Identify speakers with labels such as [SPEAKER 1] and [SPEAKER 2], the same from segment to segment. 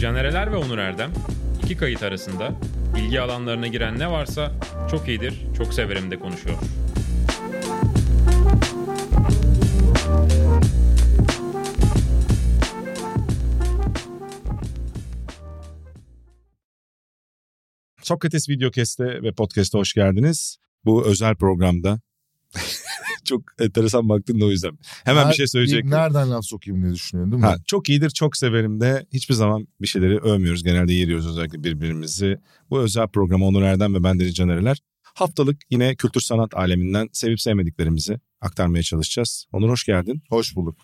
[SPEAKER 1] Caner Eler ve Onur Erdem iki kayıt arasında ilgi alanlarına giren ne varsa çok iyidir, çok severim de konuşuyor.
[SPEAKER 2] Sokrates Videokest'e ve Podcast'a hoş geldiniz. Bu özel programda çok enteresan baktın da o yüzden. Hemen bir şey söyleyecek.
[SPEAKER 3] Nereden laf sokayım diye düşünüyorsun değil mi?
[SPEAKER 2] Ha, çok iyidir, çok severim de hiçbir zaman bir şeyleri övmüyoruz. Genelde yeriyoruz özellikle birbirimizi. Bu özel programı Onur Erdem ve ben Deniz Canereler. Haftalık yine kültür sanat aleminden sevip sevmediklerimizi aktarmaya çalışacağız. Onur hoş geldin.
[SPEAKER 3] Hoş bulduk.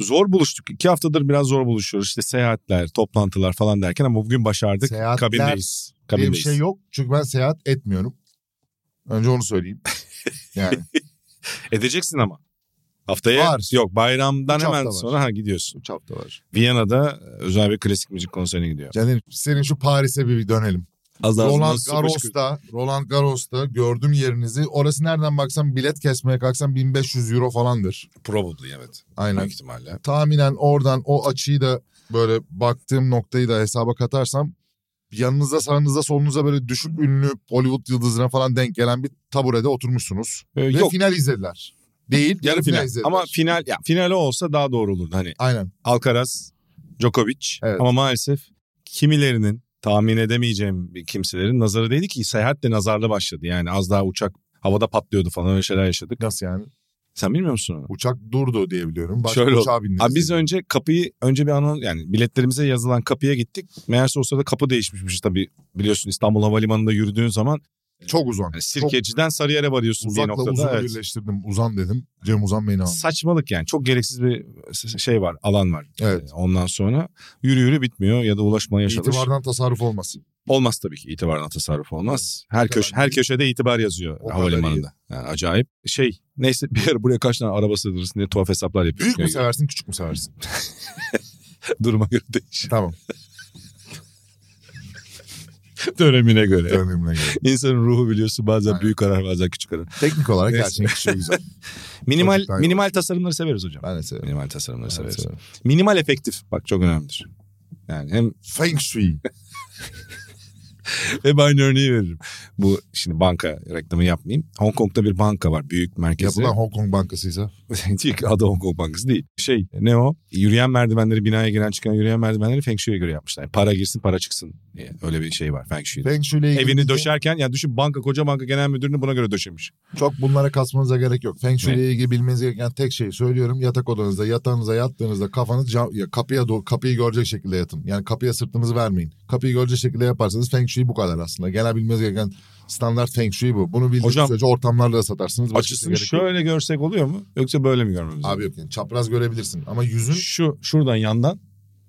[SPEAKER 2] Zor buluştuk. İki haftadır biraz zor buluşuyoruz. İşte seyahatler, toplantılar falan derken ama bugün başardık.
[SPEAKER 3] Seyahatler
[SPEAKER 2] Kabindeyiz.
[SPEAKER 3] Benim
[SPEAKER 2] Kabindeyiz.
[SPEAKER 3] şey yok çünkü ben seyahat etmiyorum. Önce onu söyleyeyim. Yani
[SPEAKER 2] Edeceksin ama. Haftaya
[SPEAKER 3] Var.
[SPEAKER 2] yok bayramdan
[SPEAKER 3] Üç hafta
[SPEAKER 2] hemen
[SPEAKER 3] var.
[SPEAKER 2] sonra ha gidiyorsun.
[SPEAKER 3] 3 hafta var.
[SPEAKER 2] Viyana'da özel bir klasik müzik konserine gidiyor.
[SPEAKER 3] Caner senin şu Paris'e bir, bir dönelim.
[SPEAKER 2] Az daha
[SPEAKER 3] Roland
[SPEAKER 2] nasıl başka-
[SPEAKER 3] Garros'ta, Roland Garros'ta gördüm yerinizi. Orası nereden baksan bilet kesmeye kalksan 1500 euro falandır.
[SPEAKER 2] Probably evet.
[SPEAKER 3] Aynen.
[SPEAKER 2] Büyük ihtimalle.
[SPEAKER 3] Tahminen oradan o açıyı da böyle baktığım noktayı da hesaba katarsam yanınıza sağınıza solunuza böyle düşük ünlü Hollywood yıldızına falan denk gelen bir taburede oturmuşsunuz.
[SPEAKER 2] Ee,
[SPEAKER 3] Ve
[SPEAKER 2] yok
[SPEAKER 3] final izlediler. Değil.
[SPEAKER 2] yarı final.
[SPEAKER 3] izlediler.
[SPEAKER 2] Ama final ya finale olsa daha doğru olurdu. Hani
[SPEAKER 3] Aynen.
[SPEAKER 2] Alcaraz, Djokovic
[SPEAKER 3] Evet.
[SPEAKER 2] ama maalesef kimilerinin tahmin edemeyeceğim bir kimselerin nazarı değdi ki seyahat de nazarlı başladı. Yani az daha uçak havada patlıyordu falan öyle şeyler yaşadık.
[SPEAKER 3] Nasıl yani?
[SPEAKER 2] Sen bilmiyor musun onu?
[SPEAKER 3] Uçak durdu diye biliyorum. Başka
[SPEAKER 2] Şöyle oldu.
[SPEAKER 3] uçağa bindiniz.
[SPEAKER 2] Abi biz
[SPEAKER 3] diye.
[SPEAKER 2] önce kapıyı önce bir anons yani biletlerimize yazılan kapıya gittik. Meğerse o sırada kapı değişmişmiş tabii. Biliyorsun İstanbul Havalimanı'nda yürüdüğün zaman
[SPEAKER 3] Çok uzun.
[SPEAKER 2] yani
[SPEAKER 3] Çok
[SPEAKER 2] Sirkeci'den Sarıyer'e varıyorsun diye
[SPEAKER 3] uzakla uzun
[SPEAKER 2] noktada. evet.
[SPEAKER 3] birleştirdim. Uzan dedim. Cem Uzan beni aldı.
[SPEAKER 2] Saçmalık yani çok gereksiz bir şey var alan var. Ee,
[SPEAKER 3] Evet.
[SPEAKER 2] Ondan sonra yürü yürü bitmiyor ya da ulaşmaya yaşanır.
[SPEAKER 3] İtibardan tasarruf olmasın.
[SPEAKER 2] Olmaz tabii ki itibarına tasarruf olmaz. Her
[SPEAKER 3] kadar
[SPEAKER 2] köşe her
[SPEAKER 3] iyi.
[SPEAKER 2] köşede itibar yazıyor
[SPEAKER 3] O kadar
[SPEAKER 2] havalimanında. Yani acayip. Şey neyse bir ara buraya kaç tane araba sığdırırsın diye tuhaf hesaplar yapıyor.
[SPEAKER 3] Büyük mü seversin küçük mü seversin?
[SPEAKER 2] Duruma göre değişir.
[SPEAKER 3] tamam.
[SPEAKER 2] Dönemine göre.
[SPEAKER 3] Dönemine göre.
[SPEAKER 2] İnsanın ruhu biliyorsun bazen
[SPEAKER 3] Aynen.
[SPEAKER 2] büyük karar bazen küçük karar.
[SPEAKER 3] Teknik olarak
[SPEAKER 2] Neyse.
[SPEAKER 3] gerçekten şey güzel.
[SPEAKER 2] Minimal
[SPEAKER 3] Çocuklar yok.
[SPEAKER 2] minimal tasarımları severiz hocam.
[SPEAKER 3] Ben de severim.
[SPEAKER 2] Minimal tasarımları
[SPEAKER 3] Ben de
[SPEAKER 2] severiz.
[SPEAKER 3] severim.
[SPEAKER 2] Minimal efektif bak çok önemlidir. Yani hem
[SPEAKER 3] Feng Shui.
[SPEAKER 2] Hep aynı örneği veririm. Bu şimdi banka reklamı yapmayayım. Hong Kong'da bir banka var büyük merkezi.
[SPEAKER 3] Yapılan Hong Kong bankasıysa.
[SPEAKER 2] Değil ki, adı Hong Kong Bankası değil. Şey ne o? Yürüyen merdivenleri binaya giren çıkan yürüyen merdivenleri Feng Shui'ye göre yapmışlar. Yani para girsin para çıksın diye. Öyle bir şey var Feng Shui'de.
[SPEAKER 3] Feng Shui'yle ilgili
[SPEAKER 2] Evini
[SPEAKER 3] bilgi-
[SPEAKER 2] döşerken ya düşün banka koca banka genel müdürünü buna göre döşemiş.
[SPEAKER 3] Çok bunlara kasmanıza gerek yok. Feng Shui'yle ilgili bilmeniz gereken tek şeyi söylüyorum. Yatak odanızda, yatağınıza yattığınızda kafanız cam- ya kapıya doğru, kapıyı görecek şekilde yatın. Yani kapıya sırtınızı vermeyin. Kapıyı görecek şekilde yaparsanız Feng Shui bu kadar aslında. Genel bilmeniz gereken standart Feng Shui bu. Bunu bildiğiniz
[SPEAKER 2] Hocam,
[SPEAKER 3] sürece ortamlarda da satarsınız. Başka
[SPEAKER 2] Açısını
[SPEAKER 3] şeye gerek yok.
[SPEAKER 2] şöyle görsek oluyor mu? Yoksa böyle mi görmemiz lazım?
[SPEAKER 3] Abi yok yani çapraz görebilirsin ama yüzün...
[SPEAKER 2] Şu şuradan yandan.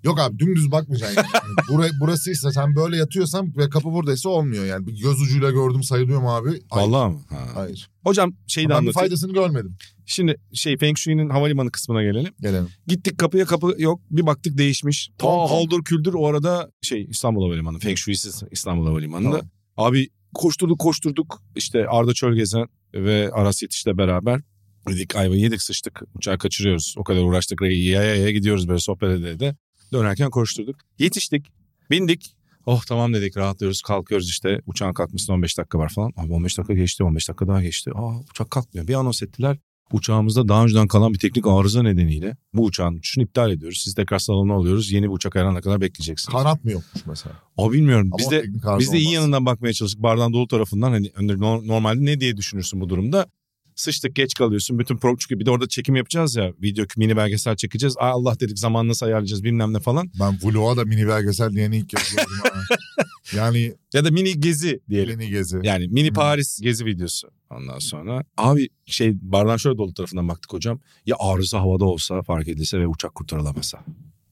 [SPEAKER 3] Yok abi dümdüz bakmayacaksın. Yani. Yani Burayı, burasıysa sen böyle yatıyorsan ve kapı buradaysa olmuyor yani. Bir göz ucuyla gördüm sayılıyor mu abi? Hayır.
[SPEAKER 2] Vallahi mı? Ha.
[SPEAKER 3] Hayır.
[SPEAKER 2] Hocam şeyi de
[SPEAKER 3] Ben bir
[SPEAKER 2] anlatayım.
[SPEAKER 3] faydasını görmedim.
[SPEAKER 2] Şimdi şey Feng Shui'nin havalimanı kısmına gelelim.
[SPEAKER 3] Gelelim.
[SPEAKER 2] Gittik kapıya kapı yok. Bir baktık değişmiş. Ta
[SPEAKER 3] Tamam.
[SPEAKER 2] haldır küldür o arada şey İstanbul Havalimanı. Feng Shui'siz İstanbul Havalimanı'nda.
[SPEAKER 3] Tamam.
[SPEAKER 2] Abi koşturduk koşturduk. İşte Arda Çölgezen ve Aras Yetiş'le beraber dedik ayva yedik sıçtık. Uçağı kaçırıyoruz. O kadar uğraştık. Yaya yaya gidiyoruz böyle sohbet ede de. Dönerken koşturduk. Yetiştik. Bindik. Oh tamam dedik rahatlıyoruz kalkıyoruz işte uçağın kalkmasına 15 dakika var falan. Abi 15 dakika geçti 15 dakika daha geçti. Aa uçak kalkmıyor bir anons ettiler. Uçağımızda daha önceden kalan bir teknik arıza nedeniyle bu uçağın uçuşunu iptal ediyoruz. Siz tekrar salona alıyoruz. Yeni bir uçak ayarlanana kadar bekleyeceksiniz.
[SPEAKER 3] Kanat mı yokmuş mesela?
[SPEAKER 2] Aa bilmiyorum.
[SPEAKER 3] Ama
[SPEAKER 2] Biz de
[SPEAKER 3] teknik arıza
[SPEAKER 2] biz de iyi
[SPEAKER 3] olmaz.
[SPEAKER 2] yanından bakmaya çalıştık. Bardağın dolu tarafından hani önde- no- normalde ne diye düşünürsün bu durumda? Sıçtık geç kalıyorsun. Bütün pro çünkü bir de orada çekim yapacağız ya. Video mini belgesel çekeceğiz. Aa, Allah dedik zaman nasıl ayarlayacağız bilmem ne falan.
[SPEAKER 3] Ben vloğa da mini belgesel diyeni ilk kez gördüm ha. yani
[SPEAKER 2] Ya da mini gezi diyelim.
[SPEAKER 3] yeni gezi.
[SPEAKER 2] Yani mini
[SPEAKER 3] Hı.
[SPEAKER 2] Paris gezi videosu. Ondan sonra abi şey bardağın şöyle dolu tarafından baktık hocam. Ya arıza havada olsa fark edilse ve uçak kurtarılamasa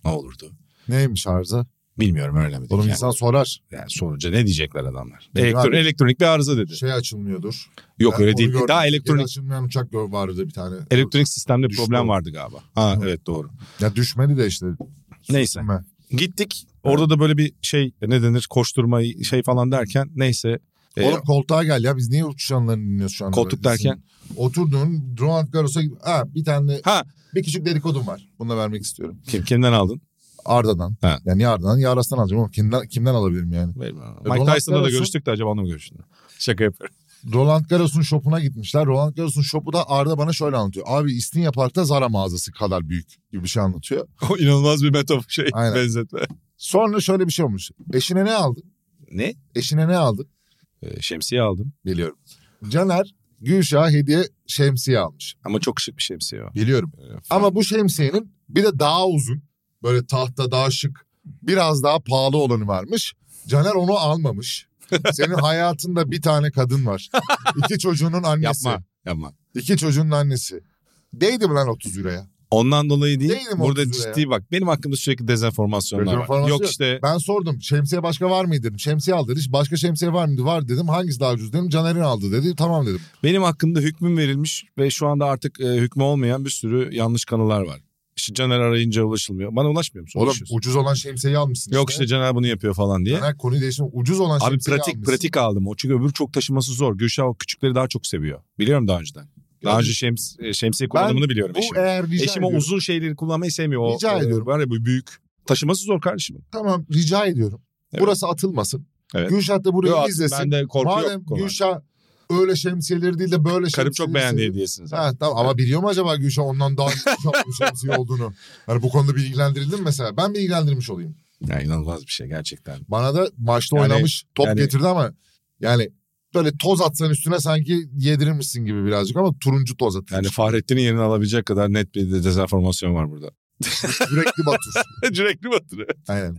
[SPEAKER 2] ne olurdu?
[SPEAKER 3] Neymiş arıza?
[SPEAKER 2] Bilmiyorum öyle mi? dedik
[SPEAKER 3] Oğlum
[SPEAKER 2] yani.
[SPEAKER 3] insan sorar.
[SPEAKER 2] Yani sonuca ne diyecekler adamlar?
[SPEAKER 3] Değil
[SPEAKER 2] Elektron-
[SPEAKER 3] abi.
[SPEAKER 2] elektronik bir arıza dedi.
[SPEAKER 3] Şey açılmıyordur.
[SPEAKER 2] Yok
[SPEAKER 3] Ben
[SPEAKER 2] öyle
[SPEAKER 3] onu
[SPEAKER 2] değil.
[SPEAKER 3] gördüm.
[SPEAKER 2] Daha
[SPEAKER 3] Yeni
[SPEAKER 2] elektronik
[SPEAKER 3] açılmayan uçak gö- vardı bir tane.
[SPEAKER 2] Elektronik sistemde
[SPEAKER 3] Düştü
[SPEAKER 2] problem
[SPEAKER 3] o.
[SPEAKER 2] vardı galiba. Ha
[SPEAKER 3] Hı.
[SPEAKER 2] evet doğru.
[SPEAKER 3] Ya düşmedi de işte.
[SPEAKER 2] Neyse.
[SPEAKER 3] Düşme.
[SPEAKER 2] Gittik. Orada da böyle bir şey ne denir koşturma şey falan derken neyse. E,
[SPEAKER 3] Oğlum koltuğa gel ya biz niye uçuş anılarını dinliyoruz şu anda?
[SPEAKER 2] koltuk
[SPEAKER 3] Bizim
[SPEAKER 2] derken.
[SPEAKER 3] Oturduğun Roland Garros'a gidip ha bir tane de
[SPEAKER 2] Ha.
[SPEAKER 3] bir küçük dedikodum var. Bunu da vermek istiyorum.
[SPEAKER 2] Kim, kimden aldın?
[SPEAKER 3] Arda'dan.
[SPEAKER 2] Ha.
[SPEAKER 3] Yani ya Arda'dan ya Aras'tan alacağım ama kimden, kimden alabilirim yani?
[SPEAKER 2] Mike
[SPEAKER 3] Roland
[SPEAKER 2] Tyson'la da
[SPEAKER 3] Garrison-
[SPEAKER 2] görüştük de acaba onu mu görüştün? Şaka yapıyorum.
[SPEAKER 3] Roland Garros'un shopuna gitmişler. Roland Garros'un shopu da Arda bana şöyle anlatıyor. Abi İstinye Park'ta Zara mağazası kadar büyük gibi bir şey anlatıyor.
[SPEAKER 2] O inanılmaz bir metafor şey
[SPEAKER 3] Aynen.
[SPEAKER 2] benzetme.
[SPEAKER 3] Sonra şöyle bir şey olmuş. Eşine ne aldın?
[SPEAKER 2] Ne?
[SPEAKER 3] Eşine ne aldın?
[SPEAKER 2] Ee, şemsiye aldım.
[SPEAKER 3] Biliyorum. Caner Gülşah hediye şemsiye almış.
[SPEAKER 2] Ama çok şık bir şemsiye o.
[SPEAKER 3] Biliyorum.
[SPEAKER 2] Ee,
[SPEAKER 3] Ama bu şemsiyenin bir de daha uzun. Böyle tahta daha şık. Biraz daha pahalı olanı varmış. Caner onu almamış. Senin hayatında bir tane kadın var. İki çocuğunun annesi.
[SPEAKER 2] Yapma. Yapma.
[SPEAKER 3] İki çocuğunun annesi. Değdi mi lan 30 liraya?
[SPEAKER 2] Ondan dolayı değil.
[SPEAKER 3] Değilim
[SPEAKER 2] burada
[SPEAKER 3] 30 liraya.
[SPEAKER 2] ciddi bak. Benim hakkımda sürekli dezenformasyonlar var.
[SPEAKER 3] Dezenformasyon
[SPEAKER 2] Yok
[SPEAKER 3] yok.
[SPEAKER 2] işte
[SPEAKER 3] Ben sordum şemsiye başka var mıydı dedim. Şemsiye al dedi. Başka şemsiye var mıydı? Var dedim. Hangisi daha ucuz dedim. Caner'in aldı dedi. Tamam dedim.
[SPEAKER 2] benim hakkımda hükmüm verilmiş ve şu anda artık e, hükmü olmayan bir sürü yanlış kanallar var. İşte Caner arayınca ulaşılmıyor. Bana ulaşmıyor musun?
[SPEAKER 3] Oğlum
[SPEAKER 2] Ulaşıyorsun.
[SPEAKER 3] ucuz olan şemsiyeyi almışsın
[SPEAKER 2] Yok işte Caner bunu yapıyor falan diye.
[SPEAKER 3] Caner konuyu değiştirme. Ucuz olan
[SPEAKER 2] Abi
[SPEAKER 3] şemsiyeyi
[SPEAKER 2] pratik
[SPEAKER 3] almışsın.
[SPEAKER 2] pratik aldım. O çünkü öbür çok taşıması zor. Gülşah o küçükleri daha çok seviyor. Biliyorum daha önceden. Daha
[SPEAKER 3] Yani
[SPEAKER 2] önce şems, e, şemsiye kullanımını biliyorum
[SPEAKER 3] Bu
[SPEAKER 2] eşim.
[SPEAKER 3] eğer rica
[SPEAKER 2] Eşim o
[SPEAKER 3] ediyorum.
[SPEAKER 2] uzun şeyleri kullanmayı sevmiyor. O,
[SPEAKER 3] Rica
[SPEAKER 2] o-
[SPEAKER 3] ediyorum.
[SPEAKER 2] Var ya bu büyük. Taşıması zor kardeşim.
[SPEAKER 3] Tamam rica ediyorum.
[SPEAKER 2] Evet.
[SPEAKER 3] Burası atılmasın.
[SPEAKER 2] Evet.
[SPEAKER 3] Gülşah da burayı
[SPEAKER 2] Yok,
[SPEAKER 3] izlesin.
[SPEAKER 2] Ben de korku
[SPEAKER 3] Madem
[SPEAKER 2] yok. konularda.
[SPEAKER 3] Gülşah öyle şemsiyeleri değil de böyle
[SPEAKER 2] Karım
[SPEAKER 3] şemsiyeleri...
[SPEAKER 2] çok beğendi
[SPEAKER 3] seviyor.
[SPEAKER 2] hediyesini. zaten.
[SPEAKER 3] Ha, tamam ama biliyor mu acaba Gülşah ondan daha çok bir şemsiye olduğunu? Hani bu konuda bilgilendirildin mi mesela? Ben bilgilendirmiş olayım.
[SPEAKER 2] Ya inanılmaz bir şey gerçekten.
[SPEAKER 3] Bana da maçta
[SPEAKER 2] Yani-
[SPEAKER 3] oynamış top
[SPEAKER 2] yani-
[SPEAKER 3] getirdi ama yani böyle toz atsan üstüne sanki yedirirmişsin gibi birazcık ama turuncu toz atmış.
[SPEAKER 2] Yani Fahrettin'in yerini alabilecek kadar net bir de- dezenformasyon var burada.
[SPEAKER 3] Yürekli Batur.
[SPEAKER 2] Cürekli batırı.
[SPEAKER 3] Aynen.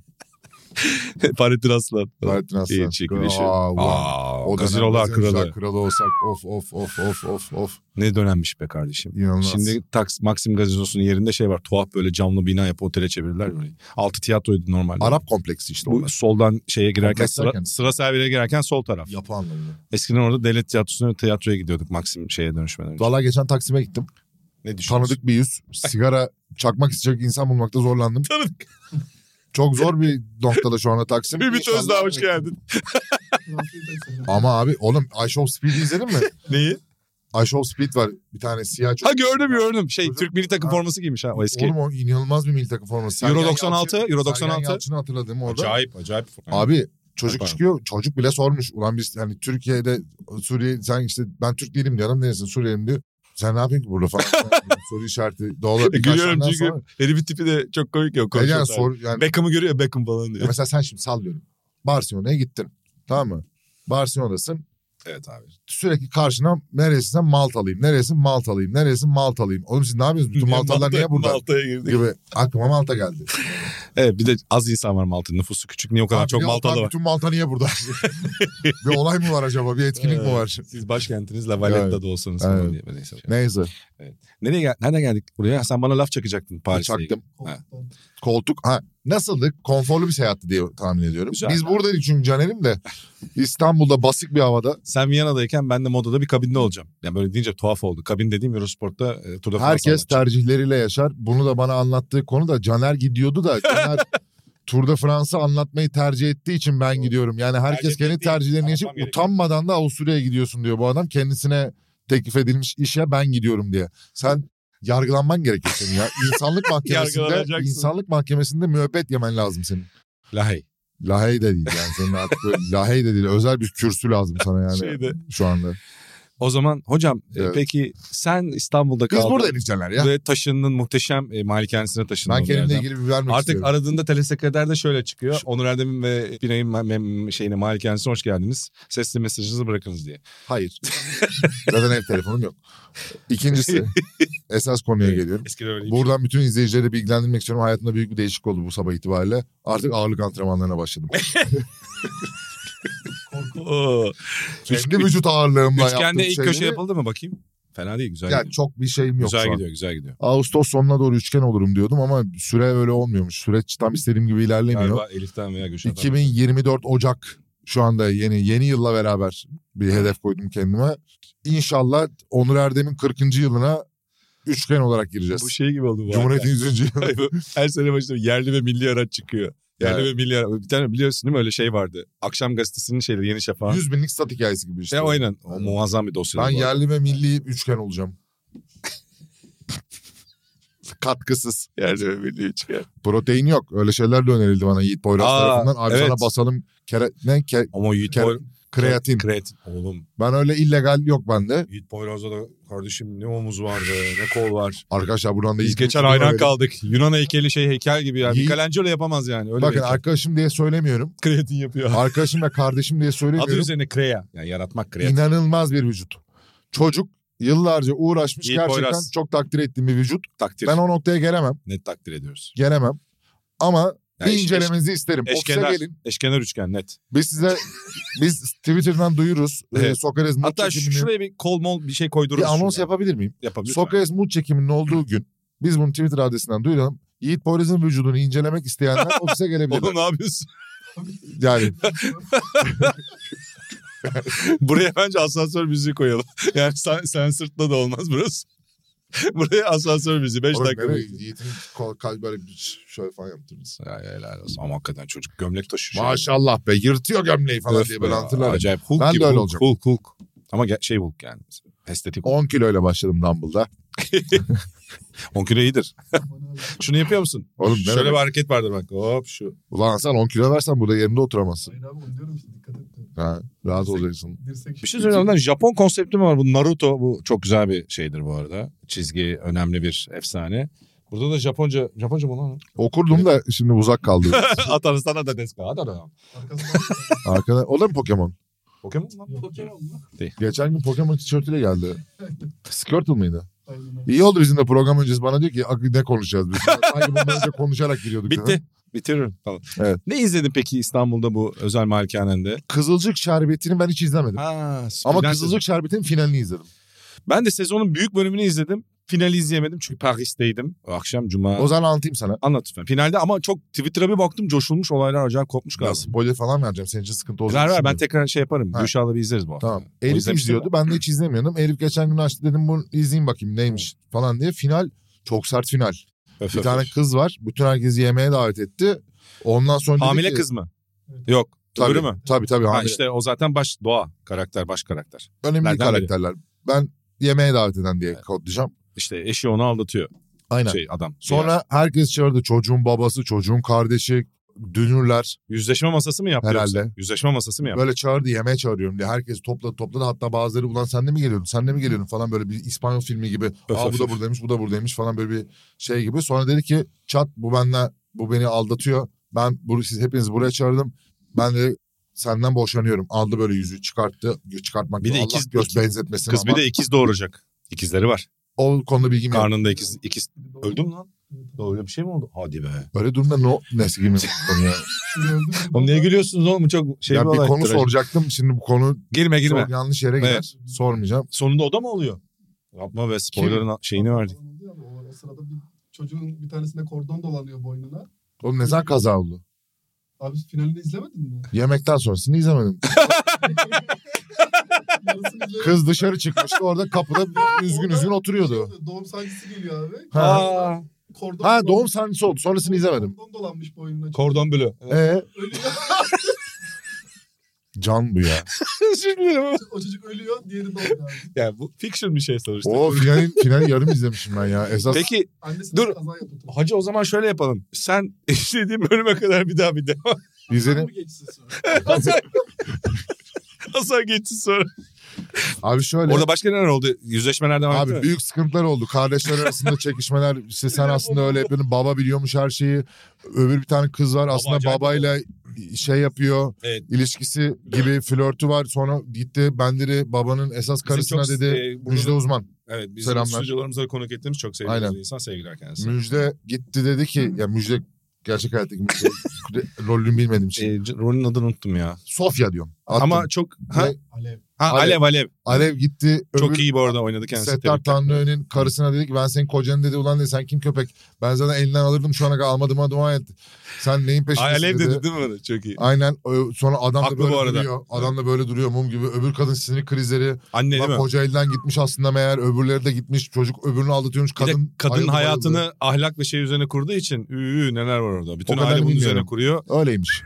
[SPEAKER 2] Fahrettin Aslan.
[SPEAKER 3] Fahrettin Aslan.
[SPEAKER 2] İyi çekilişi.
[SPEAKER 3] Aa, ulan.
[SPEAKER 2] Aa,
[SPEAKER 3] dönem
[SPEAKER 2] Gazirolar
[SPEAKER 3] bizim
[SPEAKER 2] kralı.
[SPEAKER 3] Jack kralı olsak of of of of of of.
[SPEAKER 2] Ne dönemmiş be kardeşim.
[SPEAKER 3] İnanılmaz.
[SPEAKER 2] Şimdi taks, Maxim Gazinosu'nun yerinde şey var. Tuhaf böyle camlı bina yapıp otele çevirdiler. Böyle. Altı tiyatroydu normalde.
[SPEAKER 3] Arap kompleksi işte
[SPEAKER 2] Bu
[SPEAKER 3] onlar.
[SPEAKER 2] soldan şeye girerken
[SPEAKER 3] Kompleks
[SPEAKER 2] sıra,
[SPEAKER 3] derken?
[SPEAKER 2] sıra servire girerken sol taraf.
[SPEAKER 3] Yapı anlamında.
[SPEAKER 2] Eskiden orada devlet tiyatrosuna tiyatroya gidiyorduk Maxim şeye dönüşmeden önce.
[SPEAKER 3] Valla geçen Taksim'e gittim.
[SPEAKER 2] Ne düşünüyorsun?
[SPEAKER 3] Tanıdık bir yüz. Sigara çakmak isteyecek insan bulmakta zorlandım.
[SPEAKER 2] Tanıdık.
[SPEAKER 3] Çok zor bir noktada şu anda Taksim.
[SPEAKER 2] Ümit
[SPEAKER 3] İnşallah-
[SPEAKER 2] Özdağ hoş geldin.
[SPEAKER 3] Ama abi oğlum I Show Speed'i izledin mi?
[SPEAKER 2] Neyi?
[SPEAKER 3] I Show Speed var. Bir tane siyah çocuk.
[SPEAKER 2] Ha gördüm gördüm. Şey
[SPEAKER 3] Çocuk-
[SPEAKER 2] Türk milli takım
[SPEAKER 3] Ha.
[SPEAKER 2] forması giymiş ha o eski.
[SPEAKER 3] Oğlum o inanılmaz bir milli takım forması.
[SPEAKER 2] Euro
[SPEAKER 3] Sergen
[SPEAKER 2] 96,
[SPEAKER 3] Yalçın-
[SPEAKER 2] Euro
[SPEAKER 3] Sergen
[SPEAKER 2] 96.
[SPEAKER 3] Yalçın'ı hatırladım orada.
[SPEAKER 2] Acayip acayip.
[SPEAKER 3] Abi
[SPEAKER 2] Ha,
[SPEAKER 3] çocuk
[SPEAKER 2] pardon.
[SPEAKER 3] çıkıyor. Çocuk bile sormuş. Ulan biz yani Türkiye'de Suriye sen işte ben Türk değilim diyorum. Neresin Suriyeliyim diyor. Sen ne yapıyorsun ki burada falan. soru işareti doğal olarak birkaç
[SPEAKER 2] Gülüyorum
[SPEAKER 3] tane
[SPEAKER 2] çünkü
[SPEAKER 3] sonra-
[SPEAKER 2] herifin tipi de çok komik yok.
[SPEAKER 3] E yani sor, yani
[SPEAKER 2] Beckham'ı görüyor Beckham falan
[SPEAKER 3] Ya
[SPEAKER 2] diyor.
[SPEAKER 3] mesela sen şimdi sallıyorum. Barcelona'ya gittin. Tamam mı? Barcelona'dasın.
[SPEAKER 2] Evet abi.
[SPEAKER 3] Sürekli karşına neresinden Maltalıyım, neresin Maltalıyım, neresin Maltalıyım. Oğlum siz ne yapıyorsunuz? Bütün Maltalılar niye burada?
[SPEAKER 2] Malta'ya girdik.
[SPEAKER 3] Gibi. Aklıma Malta geldi.
[SPEAKER 2] Evet bir de az insan var Malta'nın nüfusu küçük. Niye o kadar
[SPEAKER 3] Abi
[SPEAKER 2] çok
[SPEAKER 3] niye-
[SPEAKER 2] Maltalı
[SPEAKER 3] abi
[SPEAKER 2] var?
[SPEAKER 3] Bütün Malta niye burada? bir olay mı var acaba? Bir etkinlik mi
[SPEAKER 2] Evet.
[SPEAKER 3] var?
[SPEAKER 2] Siz başkentiniz La Valetta'da olsanız
[SPEAKER 3] Evet.
[SPEAKER 2] falan diye. Neyse.
[SPEAKER 3] Neyse.
[SPEAKER 2] Nereye gel nereden geldik buraya? Sen bana laf çakacaktın Paris'e.
[SPEAKER 3] Çaktım.
[SPEAKER 2] Ha.
[SPEAKER 3] Koltuk. Ha. Nasıldı? Konforlu bir seyahatti diye tahmin ediyorum.
[SPEAKER 2] Güzel.
[SPEAKER 3] Biz buradaydık çünkü Caner'im de. İstanbul'da basık bir havada.
[SPEAKER 2] Sen Viyana'dayken ben de modada bir kabinde olacağım. Yani böyle deyince tuhaf oldu. Kabin dediğim Eurosport'ta e, Tour de France
[SPEAKER 3] Herkes
[SPEAKER 2] anlatacak.
[SPEAKER 3] tercihleriyle yaşar. Bunu da bana anlattığı konu da Caner gidiyordu da Caner Tour de France'ı anlatmayı tercih ettiği için ben
[SPEAKER 2] Doğru.
[SPEAKER 3] gidiyorum. Yani herkes
[SPEAKER 2] Tercih
[SPEAKER 3] kendi
[SPEAKER 2] ettiği için
[SPEAKER 3] tercihlerini
[SPEAKER 2] anlatmam
[SPEAKER 3] yaşayıp
[SPEAKER 2] gerekiyor.
[SPEAKER 3] utanmadan da Avusturya'ya gidiyorsun diyor bu adam. Kendisine teklif edilmiş işe ben gidiyorum diye. Sen yargılanman gerekiyor senin ya. İnsanlık mahkemesinde
[SPEAKER 2] Yargılanacaksın.
[SPEAKER 3] insanlık mahkemesinde müebbet yemen lazım senin.
[SPEAKER 2] Lahey.
[SPEAKER 3] Lahey de değil yani senin artık böyle lahey de değil özel bir kürsü lazım sana yani
[SPEAKER 2] Şeyde.
[SPEAKER 3] şu anda.
[SPEAKER 2] O zaman hocam e,
[SPEAKER 3] Evet.
[SPEAKER 2] peki sen İstanbul'da
[SPEAKER 3] Biz
[SPEAKER 2] kaldın.
[SPEAKER 3] buradayız Caner ya.
[SPEAKER 2] Ve taşındın muhteşem e, malikanesine taşındın.
[SPEAKER 3] Ben
[SPEAKER 2] o yerden.
[SPEAKER 3] kendimle ilgili bir vermek
[SPEAKER 2] Artık
[SPEAKER 3] istiyorum.
[SPEAKER 2] aradığında telesekreter de şöyle çıkıyor.
[SPEAKER 3] Şu-
[SPEAKER 2] Onur Erdem'in ve Binay'ın mem- mem- şeyine malikanesine hoş geldiniz. Sesli mesajınızı bırakınız diye.
[SPEAKER 3] Hayır. Zaten ev telefonum yok. İkincisi esas konuya geliyorum.
[SPEAKER 2] Eskiden öyle.
[SPEAKER 3] Buradan bütün izleyicileri bilgilendirmek istiyorum. Hayatımda büyük bir değişiklik oldu bu sabah itibariyle. Artık ağırlık antrenmanlarına başladım.
[SPEAKER 2] Oo.
[SPEAKER 3] Kendi vücut ağırlığımla yaptığım şey
[SPEAKER 2] Üçgende ilk köşe
[SPEAKER 3] şeyleri-
[SPEAKER 2] yapıldı mı bakayım? Fena değil güzel
[SPEAKER 3] Yani
[SPEAKER 2] gidiyor.
[SPEAKER 3] çok bir şeyim yok
[SPEAKER 2] güzel
[SPEAKER 3] şu an.
[SPEAKER 2] gidiyor güzel gidiyor.
[SPEAKER 3] Ağustos sonuna doğru üçgen olurum diyordum ama süre öyle olmuyormuş. Süreç tam istediğim gibi ilerlemiyor.
[SPEAKER 2] Galiba Elif'ten veya Gülşah'tan.
[SPEAKER 3] 2024 Ocak şu anda yeni yeni yılla beraber bir hedef koydum kendime. İnşallah Onur Erdem'in 40. yılına üçgen olarak gireceğiz.
[SPEAKER 2] Bu şey gibi oldu bu.
[SPEAKER 3] Cumhuriyet'in 100. yılı.
[SPEAKER 2] Ay bu Her sene başında yerli ve milli araç çıkıyor. Yerli
[SPEAKER 3] Evet.
[SPEAKER 2] ve milli araç. Bir tane biliyorsun değil mi öyle şey vardı. Akşam gazetesinin şeyleri Yeni Şafak.
[SPEAKER 3] 100 binlik stat hikayesi gibi işte.
[SPEAKER 2] E aynen. O
[SPEAKER 3] Aynen.
[SPEAKER 2] muazzam bir dosya.
[SPEAKER 3] ben
[SPEAKER 2] bu arada.
[SPEAKER 3] yerli ve milli üçgen olacağım.
[SPEAKER 2] katkısız. Yerce belli hiç. Yani.
[SPEAKER 3] Protein yok. Öyle şeyler de önerildi bana Yiğit Poyraz
[SPEAKER 2] Aa,
[SPEAKER 3] tarafından. Abi
[SPEAKER 2] evet.
[SPEAKER 3] sana basalım kere, ne? Ke-
[SPEAKER 2] Ama Yiğit
[SPEAKER 3] Ke-
[SPEAKER 2] Poy-
[SPEAKER 3] kreatin.
[SPEAKER 2] Kreatin. Oğlum
[SPEAKER 3] Ben öyle illegal yok bende.
[SPEAKER 2] Yiğit Poyraz'da da kardeşim ne omuz var be, ne kol var.
[SPEAKER 3] Arkadaşlar buradan da
[SPEAKER 2] Biz
[SPEAKER 3] Yiğit'in
[SPEAKER 2] geçen
[SPEAKER 3] fikrini
[SPEAKER 2] hayran
[SPEAKER 3] verelim.
[SPEAKER 2] kaldık. Yunan heykeli şey heykel gibi yani.
[SPEAKER 3] Yiğit-
[SPEAKER 2] Michelangelo yapamaz yani. Öyle
[SPEAKER 3] Bakın
[SPEAKER 2] bir heykel.
[SPEAKER 3] arkadaşım diye söylemiyorum.
[SPEAKER 2] kreatin yapıyor.
[SPEAKER 3] Arkadaşım ve kardeşim diye
[SPEAKER 2] Adı
[SPEAKER 3] söylemiyorum.
[SPEAKER 2] üzerine krea. Yani yaratmak kreatin.
[SPEAKER 3] İnanılmaz bir vücut. Çocuk yıllarca uğraşmış
[SPEAKER 2] Yiğit
[SPEAKER 3] gerçekten
[SPEAKER 2] Poyraz.
[SPEAKER 3] çok takdir ettiğim bir vücut.
[SPEAKER 2] takdir.
[SPEAKER 3] Ben o noktaya gelemem.
[SPEAKER 2] Net takdir ediyoruz.
[SPEAKER 3] Gelemem. Ama
[SPEAKER 2] Yani
[SPEAKER 3] bir
[SPEAKER 2] eş-
[SPEAKER 3] incelemenizi isterim.
[SPEAKER 2] eş-
[SPEAKER 3] Ofise
[SPEAKER 2] eşkenar.
[SPEAKER 3] gelin.
[SPEAKER 2] Eşkenar üçgen net.
[SPEAKER 3] Biz size biz Twitter'dan duyururuz. Ee,
[SPEAKER 2] Evet.
[SPEAKER 3] Sokrates mut
[SPEAKER 2] Hatta şu-
[SPEAKER 3] çekimini.
[SPEAKER 2] şuraya bir kol mol bir şey koydururuz.
[SPEAKER 3] bir anons
[SPEAKER 2] şuraya.
[SPEAKER 3] yapabilir miyim?
[SPEAKER 2] yapabilir.
[SPEAKER 3] Sokrates mut çekiminin olduğu gün biz bunu Twitter adresinden duyuralım. Yiğit Poyraz'ın vücudunu incelemek isteyenler ofise gelebilirler.
[SPEAKER 2] Oğlum ne yapıyorsun?
[SPEAKER 3] Yani
[SPEAKER 2] Buraya bence asansör müziği koyalım. Yani sen, sen sırtla da olmaz burası. Buraya asansör müziği 5
[SPEAKER 3] Oğlum
[SPEAKER 2] dakika.
[SPEAKER 3] nereye?
[SPEAKER 2] bekle.
[SPEAKER 3] Yiğit'in kol, kalbi böyle bir şöyle falan yaptınız.
[SPEAKER 2] Ya, helal olsun. Ama hakikaten çocuk gömlek taşıyor.
[SPEAKER 3] Maşallah be yırtıyor gömleği falan
[SPEAKER 2] Öf
[SPEAKER 3] diye
[SPEAKER 2] be
[SPEAKER 3] böyle
[SPEAKER 2] ya,
[SPEAKER 3] hatırlarım.
[SPEAKER 2] Acayip Hulk
[SPEAKER 3] Ben
[SPEAKER 2] gibi.
[SPEAKER 3] de öyle
[SPEAKER 2] Hulk,
[SPEAKER 3] olacağım.
[SPEAKER 2] Hulk, Hulk. Ama ge- şey Hulk yani. Estetik Hulk.
[SPEAKER 3] 10 kiloyla başladım Dumble'da.
[SPEAKER 2] 10 kilo iyidir. Şunu yapıyor musun?
[SPEAKER 3] Oğlum ne
[SPEAKER 2] Şöyle
[SPEAKER 3] demek?
[SPEAKER 2] bir hareket vardır bak. Hop şu.
[SPEAKER 3] Ulan Hasan 10 kilo versen burada yerinde oturamazsın.
[SPEAKER 4] Hayır abi onu diyorum işte dikkat et. diyorum.
[SPEAKER 3] Ha, rahat olacaksın.
[SPEAKER 4] Dirsek
[SPEAKER 2] Bir şey söyleyeyim lan Japon konsepti mi var? Bu Naruto bu çok güzel bir şeydir bu arada. Çizgi önemli bir efsane. Burada da Japonca, Japonca mı lan?
[SPEAKER 3] Okurdum da şimdi uzak kaldı.
[SPEAKER 2] Atarız sana da deska. Hadi adam.
[SPEAKER 4] Arkasından
[SPEAKER 3] Arkada, o da mı Pokemon?
[SPEAKER 2] Pokemon mu lan?
[SPEAKER 4] Yok, Pokemon mu?
[SPEAKER 3] Geçen gün Pokemon tişörtüyle geldi. Squirtle mıydı?
[SPEAKER 4] Aynen. öyle.
[SPEAKER 3] İyi oldu bizim de program öncesi bana diyor ki "Ak- ne konuşacağız biz? Sanki bundan önce konuşarak giriyorduk.
[SPEAKER 2] Bitti. Bitiririm falan.
[SPEAKER 3] Evet.
[SPEAKER 2] Ne izledin peki İstanbul'da bu özel malikanende?
[SPEAKER 3] Kızılcık Şerbeti'ni ben hiç izlemedim.
[SPEAKER 2] Ha,
[SPEAKER 3] Ama
[SPEAKER 2] Splendid.
[SPEAKER 3] Kızılcık Şerbeti'nin finalini izledim.
[SPEAKER 2] Ben de sezonun büyük bölümünü izledim. Finali izleyemedim çünkü Paris'teydim. O akşam cuma.
[SPEAKER 3] O zaman anlatayım sana.
[SPEAKER 2] Anlat lütfen. Finalde ama çok Twitter'a bir baktım coşulmuş olaylar acayip kopmuş
[SPEAKER 3] Ya
[SPEAKER 2] galiba.
[SPEAKER 3] spoiler falan vereceğim. Senin için sıkıntı olacak.
[SPEAKER 2] Ver ver ben
[SPEAKER 3] düşünmüyorum.
[SPEAKER 2] tekrar şey yaparım.
[SPEAKER 3] Ha.
[SPEAKER 2] Gülşah'la bir izleriz bu hafta.
[SPEAKER 3] Tamam.
[SPEAKER 2] O şey
[SPEAKER 3] Elif
[SPEAKER 2] izlemişti
[SPEAKER 3] izliyordu. Ben de hiç izlemiyordum. Elif geçen gün açtı dedim bunu izleyeyim bakayım neymiş falan diye. Final çok sert final.
[SPEAKER 2] Öf,
[SPEAKER 3] Bir
[SPEAKER 2] öf,
[SPEAKER 3] tane
[SPEAKER 2] öf.
[SPEAKER 3] kız var. Bütün herkesi yemeğe davet etti. Ondan sonra dedi
[SPEAKER 2] Hamile
[SPEAKER 3] ki-
[SPEAKER 2] kız mı?
[SPEAKER 4] Evet.
[SPEAKER 2] Yok.
[SPEAKER 3] Tabii,
[SPEAKER 2] Öbürü mü?
[SPEAKER 3] Tabii tabii hamile.
[SPEAKER 2] Ha, işte o zaten baş doğa karakter baş karakter.
[SPEAKER 3] Önemli
[SPEAKER 2] Nereden
[SPEAKER 3] karakterler. Ben yemeğe davet eden diye
[SPEAKER 2] Evet.
[SPEAKER 3] kodlayacağım.
[SPEAKER 2] İşte eşi onu aldatıyor
[SPEAKER 3] Aynen.
[SPEAKER 2] şey adam.
[SPEAKER 3] Sonra herkes çağırdı. Çocuğun babası, çocuğun kardeşi, dünürler.
[SPEAKER 2] yüzleşme masası mı yapıyor?
[SPEAKER 3] Herhalde.
[SPEAKER 2] yoksa? Yüzleşme masası mı yapıyor?
[SPEAKER 3] Böyle çağırdı yemeğe çağırıyorum diye. Herkes topladı topladı. Hatta bazıları ulan sen de mi geliyordun? Sen de mi geliyordun falan böyle bir İspanyol filmi gibi. Aa bu
[SPEAKER 2] öf,
[SPEAKER 3] da
[SPEAKER 2] öf.
[SPEAKER 3] buradaymış, bu da buradaymış falan böyle bir şey gibi. Sonra dedi ki çat bu benle bu beni aldatıyor. Ben bu, siz hepiniz buraya çağırdım. Ben de senden boşanıyorum. Aldı böyle yüzüğü çıkarttı. Çıkartmak
[SPEAKER 2] Bir de
[SPEAKER 3] Allah
[SPEAKER 2] ikiz-
[SPEAKER 3] göz
[SPEAKER 2] ikiz-
[SPEAKER 3] benzetmesin
[SPEAKER 2] Kız
[SPEAKER 3] ama
[SPEAKER 2] bir de ikiz doğuracak. İkizleri var.
[SPEAKER 3] o konuda bilgim yok.
[SPEAKER 2] Karnında ikiz ikiz
[SPEAKER 4] Bir de
[SPEAKER 2] öldü mü lan?
[SPEAKER 4] Evet, evet.
[SPEAKER 2] Öyle bir şey mi oldu? Hadi be.
[SPEAKER 3] Böyle durumda no nesi gibi ya.
[SPEAKER 4] Öldü mü?
[SPEAKER 2] Oğlum niye gülüyorsunuz oğlum? Bu Çok şey
[SPEAKER 3] Ya bir
[SPEAKER 2] olay.
[SPEAKER 3] konu
[SPEAKER 2] Trajik.
[SPEAKER 3] soracaktım. Şimdi bu konu
[SPEAKER 2] Girme girme.
[SPEAKER 3] çok yanlış yere gider.
[SPEAKER 2] Evet.
[SPEAKER 3] Sormayacağım.
[SPEAKER 2] Sonunda o da mı oluyor? Yapma be spoiler'ın şeyini verdik.
[SPEAKER 4] Falan oluyor ama O o sırada bir çocuğun bir tanesine kordon dolanıyor boynuna.
[SPEAKER 3] Oğlum ne zaman kaza oldu?
[SPEAKER 4] Abi finalini izlemedin mi?
[SPEAKER 3] Yemekten sonrasını izlemedim.
[SPEAKER 4] Yarısını izlemedim.
[SPEAKER 3] Kız dışarı çıkmıştı. Orada kapıda üzgün
[SPEAKER 4] Orada
[SPEAKER 3] üzgün
[SPEAKER 4] şey
[SPEAKER 3] oturuyordu.
[SPEAKER 4] oluyor, Doğum sancısı geliyor abi.
[SPEAKER 3] Ha.
[SPEAKER 2] Aa,
[SPEAKER 4] Kordon
[SPEAKER 3] Ha doğum
[SPEAKER 4] dolanmış-
[SPEAKER 3] sahnesi oldu. Sonrasını izlemedim.
[SPEAKER 4] Kordon dolanmış boynuna.
[SPEAKER 2] kordon bölü.
[SPEAKER 3] Ee,
[SPEAKER 4] Ölüyor.
[SPEAKER 3] can bu ya.
[SPEAKER 2] Özür dilerim ama.
[SPEAKER 4] o çocuk ölüyor. Diğeri doğuyor abi.
[SPEAKER 2] Yani bu fiction bir şey sonuçta.
[SPEAKER 3] O finali, finali yarım izlemişim ben ya. Esas
[SPEAKER 2] Peki
[SPEAKER 4] Annesi
[SPEAKER 2] Dur.
[SPEAKER 4] de kaza yapıyor.
[SPEAKER 2] hacı o zaman şöyle yapalım. Sen istediğin bölüme kadar bir daha bir devam.
[SPEAKER 3] izledim.
[SPEAKER 4] Mı geçsin sonra?
[SPEAKER 2] Hasan, Hasan geçsin sonra.
[SPEAKER 3] Abi şöyle.
[SPEAKER 2] Orada başka neler oldu? Yüzleşmelerden var
[SPEAKER 3] Abi
[SPEAKER 2] mı?
[SPEAKER 3] büyük sıkıntılar oldu. Kardeşler arasında çekişmeler. İşte sen aslında öyle yapıyorsun. Baba biliyormuş her şeyi. Öbür bir tane kız var. Aslında
[SPEAKER 2] acayip
[SPEAKER 3] babayla şey yapıyor.
[SPEAKER 2] Evet.
[SPEAKER 3] İlişkisi gibi flörtü var. Sonra gitti bendiri babanın esas
[SPEAKER 2] Bizim
[SPEAKER 3] karısına
[SPEAKER 2] çok,
[SPEAKER 3] dedi.
[SPEAKER 2] e, burada
[SPEAKER 3] Müjde
[SPEAKER 2] da-
[SPEAKER 3] Uzman.
[SPEAKER 2] Evet bizim
[SPEAKER 3] Selamlar.
[SPEAKER 2] stüdyolarımıza konuk ettiğimiz çok sevdiğimiz
[SPEAKER 3] Aynen.
[SPEAKER 2] bir insan sevgiler kendisi.
[SPEAKER 3] Müjde gitti dedi ki ya Müjde gerçek hayattaki Müjde rolünü bilmediğim için.
[SPEAKER 2] E, c- rolün adını unuttum ya.
[SPEAKER 3] Sofya diyorum. Attım.
[SPEAKER 2] Ama çok ha,
[SPEAKER 3] Ne?
[SPEAKER 4] Alev.
[SPEAKER 2] ha
[SPEAKER 3] Alev.
[SPEAKER 2] Alev Alev.
[SPEAKER 3] Alev gitti. öbür-
[SPEAKER 2] Çok iyi bu arada oynadı kendisi.
[SPEAKER 3] Settar
[SPEAKER 2] Tebrikler.
[SPEAKER 3] Tanrı'nın karısına dedi ki ben senin kocanı dedi ulan dedi sen kim köpek? Ben zaten elinden alırdım şu ana kadar almadığıma dua et. Sen neyin peşindesin
[SPEAKER 2] Alev dedi değil mi onu? Çok iyi.
[SPEAKER 3] Aynen Ö- sonra adam da
[SPEAKER 2] Haklı
[SPEAKER 3] böyle
[SPEAKER 2] bu arada.
[SPEAKER 3] duruyor. Adam da böyle duruyor mum gibi. Öbür kadın sinir krizleri.
[SPEAKER 2] Anne değil
[SPEAKER 3] Bak
[SPEAKER 2] mi?
[SPEAKER 3] koca elden gitmiş aslında meğer öbürleri de gitmiş. Çocuk öbürünü aldatıyormuş.
[SPEAKER 2] Bir de
[SPEAKER 3] Kadın,
[SPEAKER 2] kadın
[SPEAKER 3] ayrıldı,
[SPEAKER 2] hayatını
[SPEAKER 3] bayıldı.
[SPEAKER 2] ahlak ve şey üzerine kurduğu için üü, neler var orada. Bütün
[SPEAKER 3] O kadarını
[SPEAKER 2] aile bunun üzerine
[SPEAKER 3] bilmiyorum.
[SPEAKER 2] kuruyor.
[SPEAKER 3] Öyleymiş.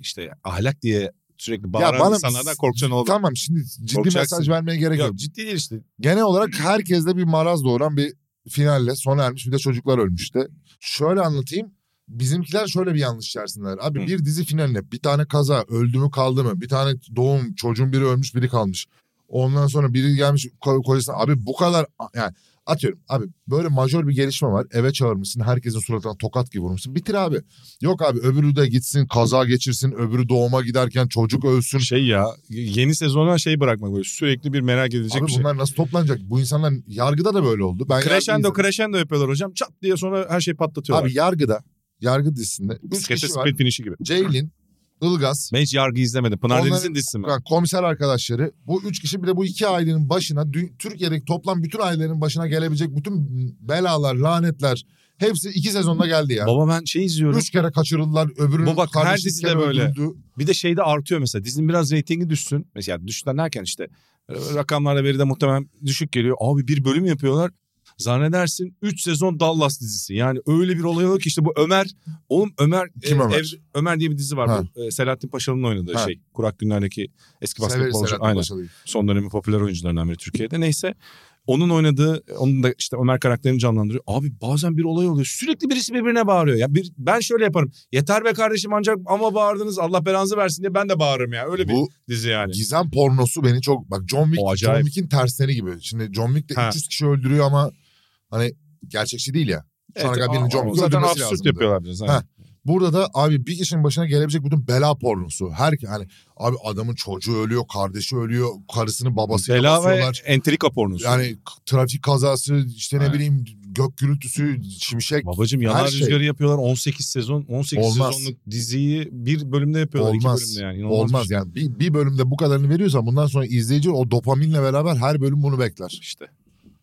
[SPEAKER 2] İşte ahlak diye sürekli bağıran
[SPEAKER 3] bana-
[SPEAKER 2] insanlardan korkacaksın oğlum.
[SPEAKER 3] Tamam şimdi ciddi
[SPEAKER 2] Korkacaksın.
[SPEAKER 3] mesaj vermeye gerek yok.
[SPEAKER 2] Yok ciddi değil işte.
[SPEAKER 3] Genel olarak herkeste bir maraz doğuran bir finalle sona ermiş bir de çocuklar ölmüş de. Şöyle anlatayım. Bizimkiler şöyle bir yanlış içerisindeler. Abi
[SPEAKER 1] Hı.
[SPEAKER 3] bir dizi finaline bir tane kaza öldü mü kaldı mı? Bir tane doğum çocuğun biri ölmüş biri kalmış. Ondan sonra biri gelmiş ko- kocasına abi bu kadar yani atıyorum abi böyle majör bir gelişme var. Eve çağırmışsın herkesin suratına tokat gibi vurmuşsun. Bitir abi. Yok abi öbürü de gitsin kaza geçirsin öbürü doğuma giderken çocuk ölsün.
[SPEAKER 2] Şey ya yeni sezona şey bırakmak böyle sürekli bir merak edilecek
[SPEAKER 3] Abi
[SPEAKER 2] bir şey.
[SPEAKER 3] bunlar nasıl toplanacak? Bu insanlar yargıda da böyle oldu. Ben yargı
[SPEAKER 2] Crescendo
[SPEAKER 3] izledim.
[SPEAKER 2] crescendo yapıyorlar hocam. Çat diye sonra her şeyi patlatıyorlar.
[SPEAKER 3] Abi yargıda, yargı dizisinde 3
[SPEAKER 2] Bisiklete
[SPEAKER 3] kişi var.
[SPEAKER 2] split finişi gibi.
[SPEAKER 3] Ceylin, Ilgaz,
[SPEAKER 2] Ben hiç yargı izlemedim. Pınar
[SPEAKER 3] Onların-
[SPEAKER 2] Deniz'in dizisi mi?
[SPEAKER 3] komiser arkadaşları. Bu üç kişi bile bu iki ailenin başına, dü- Türkiye'deki toplam bütün ailelerin başına gelebilecek bütün belalar, lanetler hepsi iki sezonda geldi ya.
[SPEAKER 2] Baba ben şey izliyorum.
[SPEAKER 3] Üç kere kaçırıldılar, öbürünün
[SPEAKER 2] Baba, her
[SPEAKER 3] kardeşi
[SPEAKER 2] dizide
[SPEAKER 3] iken
[SPEAKER 2] böyle.
[SPEAKER 3] öldürüldü.
[SPEAKER 2] Bir de şeyde artıyor mesela. Dizinin biraz reytingi düşsün. Mesela düşten derken işte e, rakamlarla veri de muhtemelen düşük geliyor. Abi bir bölüm yapıyorlar. Zannedersin 3 sezon Dallas dizisi. Yani öyle bir olay oluyor ki işte bu Ömer. Oğlum Ömer. e,
[SPEAKER 3] Kim Ömer?
[SPEAKER 2] Ömer diye bir dizi var.
[SPEAKER 3] Ha.
[SPEAKER 2] Bu, e, Selahattin Paşalı'nın oynadığı
[SPEAKER 3] Ha.
[SPEAKER 2] şey. Kurak Günler'deki eski
[SPEAKER 3] Severiz
[SPEAKER 2] basketbolcu.
[SPEAKER 3] Selahattin
[SPEAKER 2] Aynen.
[SPEAKER 3] Paşalı'yı.
[SPEAKER 2] Son dönemin popüler oyuncularından biri Türkiye'de. Neyse. Onun oynadığı, onun da işte Ömer karakterini canlandırıyor. Abi bazen bir olay oluyor. Sürekli birisi birbirine bağırıyor. Ya bir, ben şöyle yaparım. Yeter be kardeşim ancak ama bağırdınız Allah belanızı versin diye ben de bağırırım ya. Öyle bir
[SPEAKER 3] Bu
[SPEAKER 2] dizi yani.
[SPEAKER 3] gizem pornosu beni çok... Bak John
[SPEAKER 2] O
[SPEAKER 3] Wick, John
[SPEAKER 2] acayip.
[SPEAKER 3] Wick'in tersleri gibi. Şimdi John Wick de
[SPEAKER 2] Ha.
[SPEAKER 3] 300 kişi öldürüyor ama hani gerçekçi değil ya. Şu ana kadar
[SPEAKER 2] ama-
[SPEAKER 3] birinci
[SPEAKER 2] ama
[SPEAKER 3] olmuş.
[SPEAKER 2] Zaten
[SPEAKER 3] Öldürmesi
[SPEAKER 2] absürt
[SPEAKER 3] lazımdı.
[SPEAKER 2] yapıyorlar biraz. Ha.
[SPEAKER 3] Ha. Burada da abi bir kişinin başına gelebilecek bütün bela pornosu. Her hani abi adamın çocuğu ölüyor, kardeşi ölüyor, karısını babasıyla
[SPEAKER 2] Bela ve
[SPEAKER 3] basıyorlar.
[SPEAKER 2] entrika pornosu. Yani,
[SPEAKER 3] Yani k- trafik kazası, işte ne
[SPEAKER 2] Aynen.
[SPEAKER 3] bileyim gök gürültüsü, şimşek
[SPEAKER 2] Babacım yanar
[SPEAKER 3] her şey.
[SPEAKER 2] rüzgarı yapıyorlar 18 sezon. 18
[SPEAKER 3] Olmaz.
[SPEAKER 2] sezonluk diziyi bir bölümde yapıyorlar.
[SPEAKER 3] Olmaz.
[SPEAKER 2] iki bölümde yani. İnanılmaz bir
[SPEAKER 3] olmaz
[SPEAKER 2] şey.
[SPEAKER 3] yani. Bir, bir bölümde bu kadarını veriyorsan bundan sonra izleyici o dopaminle beraber her bölüm bunu bekler.
[SPEAKER 2] İşte.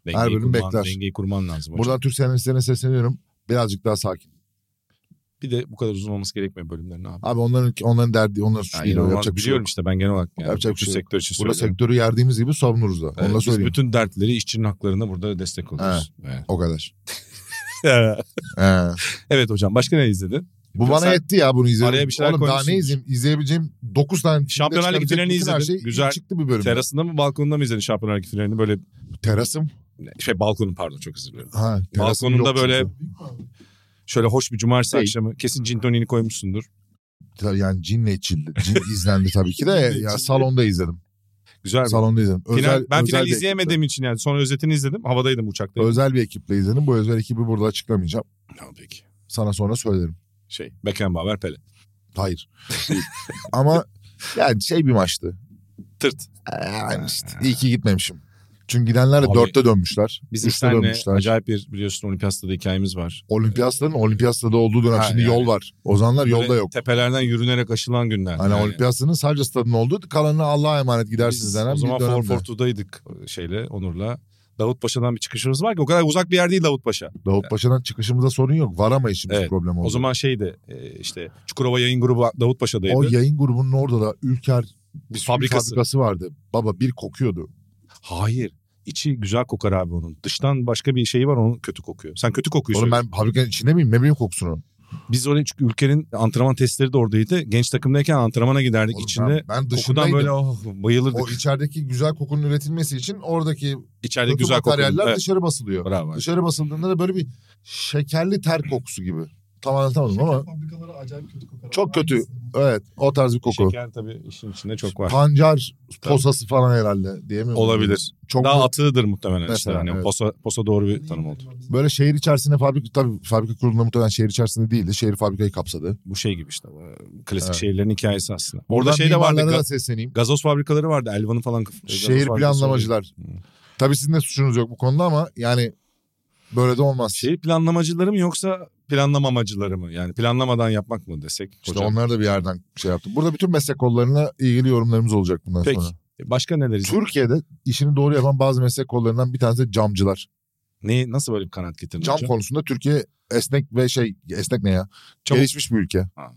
[SPEAKER 3] Her
[SPEAKER 2] şey. Dengeyi
[SPEAKER 3] bölüm
[SPEAKER 2] kurman,
[SPEAKER 3] bekler.
[SPEAKER 2] dengeyi kurman lazım. hocam.
[SPEAKER 3] Buradan Türk senaristlerine sesleniyorum. Birazcık daha sakin.
[SPEAKER 2] Bir de bu kadar uzun olması gerekmiyor bölümlerin abi.
[SPEAKER 3] Abi onların onların derdi, onların suçu
[SPEAKER 2] Yani
[SPEAKER 3] değil. o.
[SPEAKER 2] inanılmaz
[SPEAKER 3] Yapacak bir şey yok.
[SPEAKER 2] biliyorum işte ben genel olarak yani
[SPEAKER 3] Yapacak
[SPEAKER 2] bu
[SPEAKER 3] bir şey
[SPEAKER 2] sektör için
[SPEAKER 3] Burada
[SPEAKER 2] söylüyorum.
[SPEAKER 3] sektörü yerdiğimiz gibi savunuruz da.
[SPEAKER 2] Ee,
[SPEAKER 3] Onu da
[SPEAKER 2] biz
[SPEAKER 3] söyleyeyim.
[SPEAKER 2] bütün dertleri işçinin haklarında burada destek oluyoruz.
[SPEAKER 3] O kadar.
[SPEAKER 2] Evet.
[SPEAKER 3] Ee.
[SPEAKER 2] evet hocam başka ne izledin?
[SPEAKER 3] Bu
[SPEAKER 2] Sen
[SPEAKER 3] bana yetti ya bunu izledim.
[SPEAKER 2] araya bir şeyler
[SPEAKER 3] Oğlum daha
[SPEAKER 2] koymuşsun.
[SPEAKER 3] ne izleyeyim? İzleyebileceğim 9 tane.
[SPEAKER 2] Şampiyonlar Ligi
[SPEAKER 3] çıkabilecek
[SPEAKER 2] finalini
[SPEAKER 3] bütün her
[SPEAKER 2] izledin.
[SPEAKER 3] Şey
[SPEAKER 2] Güzel.
[SPEAKER 3] Çıktı bir bölüm.
[SPEAKER 2] Terasında mı balkonunda mı izledin Şampiyonlar Ligi finalini? Böyle
[SPEAKER 3] Terasım.
[SPEAKER 2] şey balkonun pardon çok özür dilerim.
[SPEAKER 3] Ha, terasım
[SPEAKER 2] Balkonunda
[SPEAKER 3] yok
[SPEAKER 2] böyle-
[SPEAKER 3] çünkü.
[SPEAKER 4] Büyük var.
[SPEAKER 2] Şöyle hoş bir cumartesi
[SPEAKER 3] Şey.
[SPEAKER 2] akşamı kesin gin toniğini koymuşsundur.
[SPEAKER 3] Ta- Yani cinle içildi. Cin izlendi tabii ki de. ya salonda izledim.
[SPEAKER 2] Güzel bir
[SPEAKER 3] Salonda izledim.
[SPEAKER 2] final.
[SPEAKER 3] Özel,
[SPEAKER 2] ben
[SPEAKER 3] özel
[SPEAKER 2] finali
[SPEAKER 3] bir
[SPEAKER 2] izleyemediğim için yani sonra özetini izledim. Havadaydım uçakta.
[SPEAKER 3] ekiple- özel bir ekiple izledim. Bu özel ekibi burada açıklamayacağım.
[SPEAKER 2] Tamam peki.
[SPEAKER 3] Sana sonra söylerim.
[SPEAKER 2] Şey Beckenbauer Pele.
[SPEAKER 3] Hayır. Değil. Ama yani şey bir maçtı. Ee,
[SPEAKER 2] Tırt.
[SPEAKER 3] Yani işte iyi ki gitmemişim. Çünkü gidenler de
[SPEAKER 2] Ee. Abi,
[SPEAKER 3] 4'te dönmüşler.
[SPEAKER 2] Bizim
[SPEAKER 3] 3'te
[SPEAKER 2] seninle
[SPEAKER 3] dönmüşler.
[SPEAKER 2] acayip bir biliyorsun Olimpiyat'ta da hikayemiz var.
[SPEAKER 3] Olimpiyatların Olimpiyat'ta da olduğu dönem
[SPEAKER 2] Ha,
[SPEAKER 3] şimdi
[SPEAKER 2] yani.
[SPEAKER 3] yol var. O zamanlar yolda
[SPEAKER 2] Böyle
[SPEAKER 3] yok.
[SPEAKER 2] Tepelerden yürünerek aşılan günler.
[SPEAKER 3] Hani
[SPEAKER 2] Yani
[SPEAKER 3] olimpiyatının sadece stadın oldu. Kalanını Allah'a emanet gidersiniz
[SPEAKER 2] biz
[SPEAKER 3] denen
[SPEAKER 2] O
[SPEAKER 3] bir
[SPEAKER 2] zaman
[SPEAKER 3] dönemde.
[SPEAKER 2] 442'daydık şeyle Onur'la. Davutpaşa'dan bir çıkışımız var ki o kadar uzak bir yer değil Davutpaşa.
[SPEAKER 3] Davutpaşa'dan çıkışımızda sorun yok. Varamayız şimdi
[SPEAKER 2] Evet.
[SPEAKER 3] problem oldu.
[SPEAKER 2] O zaman şeydi e, işte Çukurova yayın grubu Davutpaşa'daydı.
[SPEAKER 3] o yayın grubunun orada da Ülker bir
[SPEAKER 2] Fabrikası.
[SPEAKER 3] sürü fabrikası. vardı. Baba bir kokuyordu.
[SPEAKER 2] Hayır. İçi güzel kokar abi onun. Dıştan başka bir şeyi var onun kötü kokuyor. Sen kötü kokuyu
[SPEAKER 3] Oğlum
[SPEAKER 2] söyle.
[SPEAKER 3] ben fabrikanın içinde miyim? Ne bileyim kokusunu.
[SPEAKER 2] Biz oraya çünkü ülkenin antrenman testleri de oradaydı. Genç takımdayken antrenmana giderdik.
[SPEAKER 3] Oğlum
[SPEAKER 2] İçinde
[SPEAKER 3] ben, ben
[SPEAKER 2] kokudan
[SPEAKER 3] dışındaydım.
[SPEAKER 2] böyle oh, bayılırdık.
[SPEAKER 3] O içerideki güzel kokunun üretilmesi için oradaki
[SPEAKER 2] İçeride
[SPEAKER 3] kötü
[SPEAKER 2] güzel kokuyor.
[SPEAKER 3] materyaller
[SPEAKER 2] Evet.
[SPEAKER 3] dışarı basılıyor.
[SPEAKER 2] Bravo.
[SPEAKER 3] Dışarı basıldığında da böyle bir şekerli ter kokusu gibi. Tam anlatamadım ama
[SPEAKER 4] Fabrikaları acayip kötü kokar.
[SPEAKER 3] Çok kötü.
[SPEAKER 4] Aynısı.
[SPEAKER 3] evet o tarz bir koku.
[SPEAKER 2] Şeker tabii işin içinde çok var.
[SPEAKER 3] Pancar posası falan herhalde diyemiyorum.
[SPEAKER 2] Olabilir.
[SPEAKER 3] Çok
[SPEAKER 2] Daha
[SPEAKER 3] mu-
[SPEAKER 2] atığıdır muhtemelen işte.
[SPEAKER 3] Mesela,
[SPEAKER 2] Hani
[SPEAKER 3] evet.
[SPEAKER 2] posa, posa doğru bir
[SPEAKER 4] Hani
[SPEAKER 2] tanım
[SPEAKER 4] iyi
[SPEAKER 2] oldu.
[SPEAKER 4] var bizim.
[SPEAKER 3] Böyle şehir içerisinde fabrika tabii fabrika kurulunda muhtemelen şehir içerisinde değildi. Şehir fabrikayı kapsadı.
[SPEAKER 2] Bu şey gibi işte. bu Klasik
[SPEAKER 3] Evet.
[SPEAKER 2] şehirlerin hikayesi aslında. Orada
[SPEAKER 3] Oradan
[SPEAKER 2] şey de vardı.
[SPEAKER 3] mimarlara da
[SPEAKER 2] ga-
[SPEAKER 3] sesleneyim.
[SPEAKER 2] gazoz fabrikaları vardı. Elvan'ın falan. kaf- gazoz
[SPEAKER 3] Şehir
[SPEAKER 2] fabrikası vardı.
[SPEAKER 3] planlamacılar.
[SPEAKER 2] Hı.
[SPEAKER 3] Tabii sizin de suçunuz yok bu konuda ama yani böyle de olmaz.
[SPEAKER 2] Şehir planlamacıları mı yoksa planlamamacıları mı? Yani planlamadan yapmak mı desek?
[SPEAKER 3] işte
[SPEAKER 2] hocam?
[SPEAKER 3] onlar da bir yerden şey yaptı. Burada bütün meslek kollarına ilgili yorumlarımız olacak bundan
[SPEAKER 2] Peki.
[SPEAKER 3] sonra.
[SPEAKER 2] E, Başka neler izledik?
[SPEAKER 3] Türkiye'de işini doğru yapan bazı meslek kollarından bir tanesi de camcılar.
[SPEAKER 2] Ne, nasıl böyle bir kanat getirdin
[SPEAKER 3] Cam
[SPEAKER 2] hocam?
[SPEAKER 3] konusunda Türkiye esnek ve şey esnek ne ya?
[SPEAKER 2] Çabuk.
[SPEAKER 3] Gelişmiş bir ülke.
[SPEAKER 2] Ha.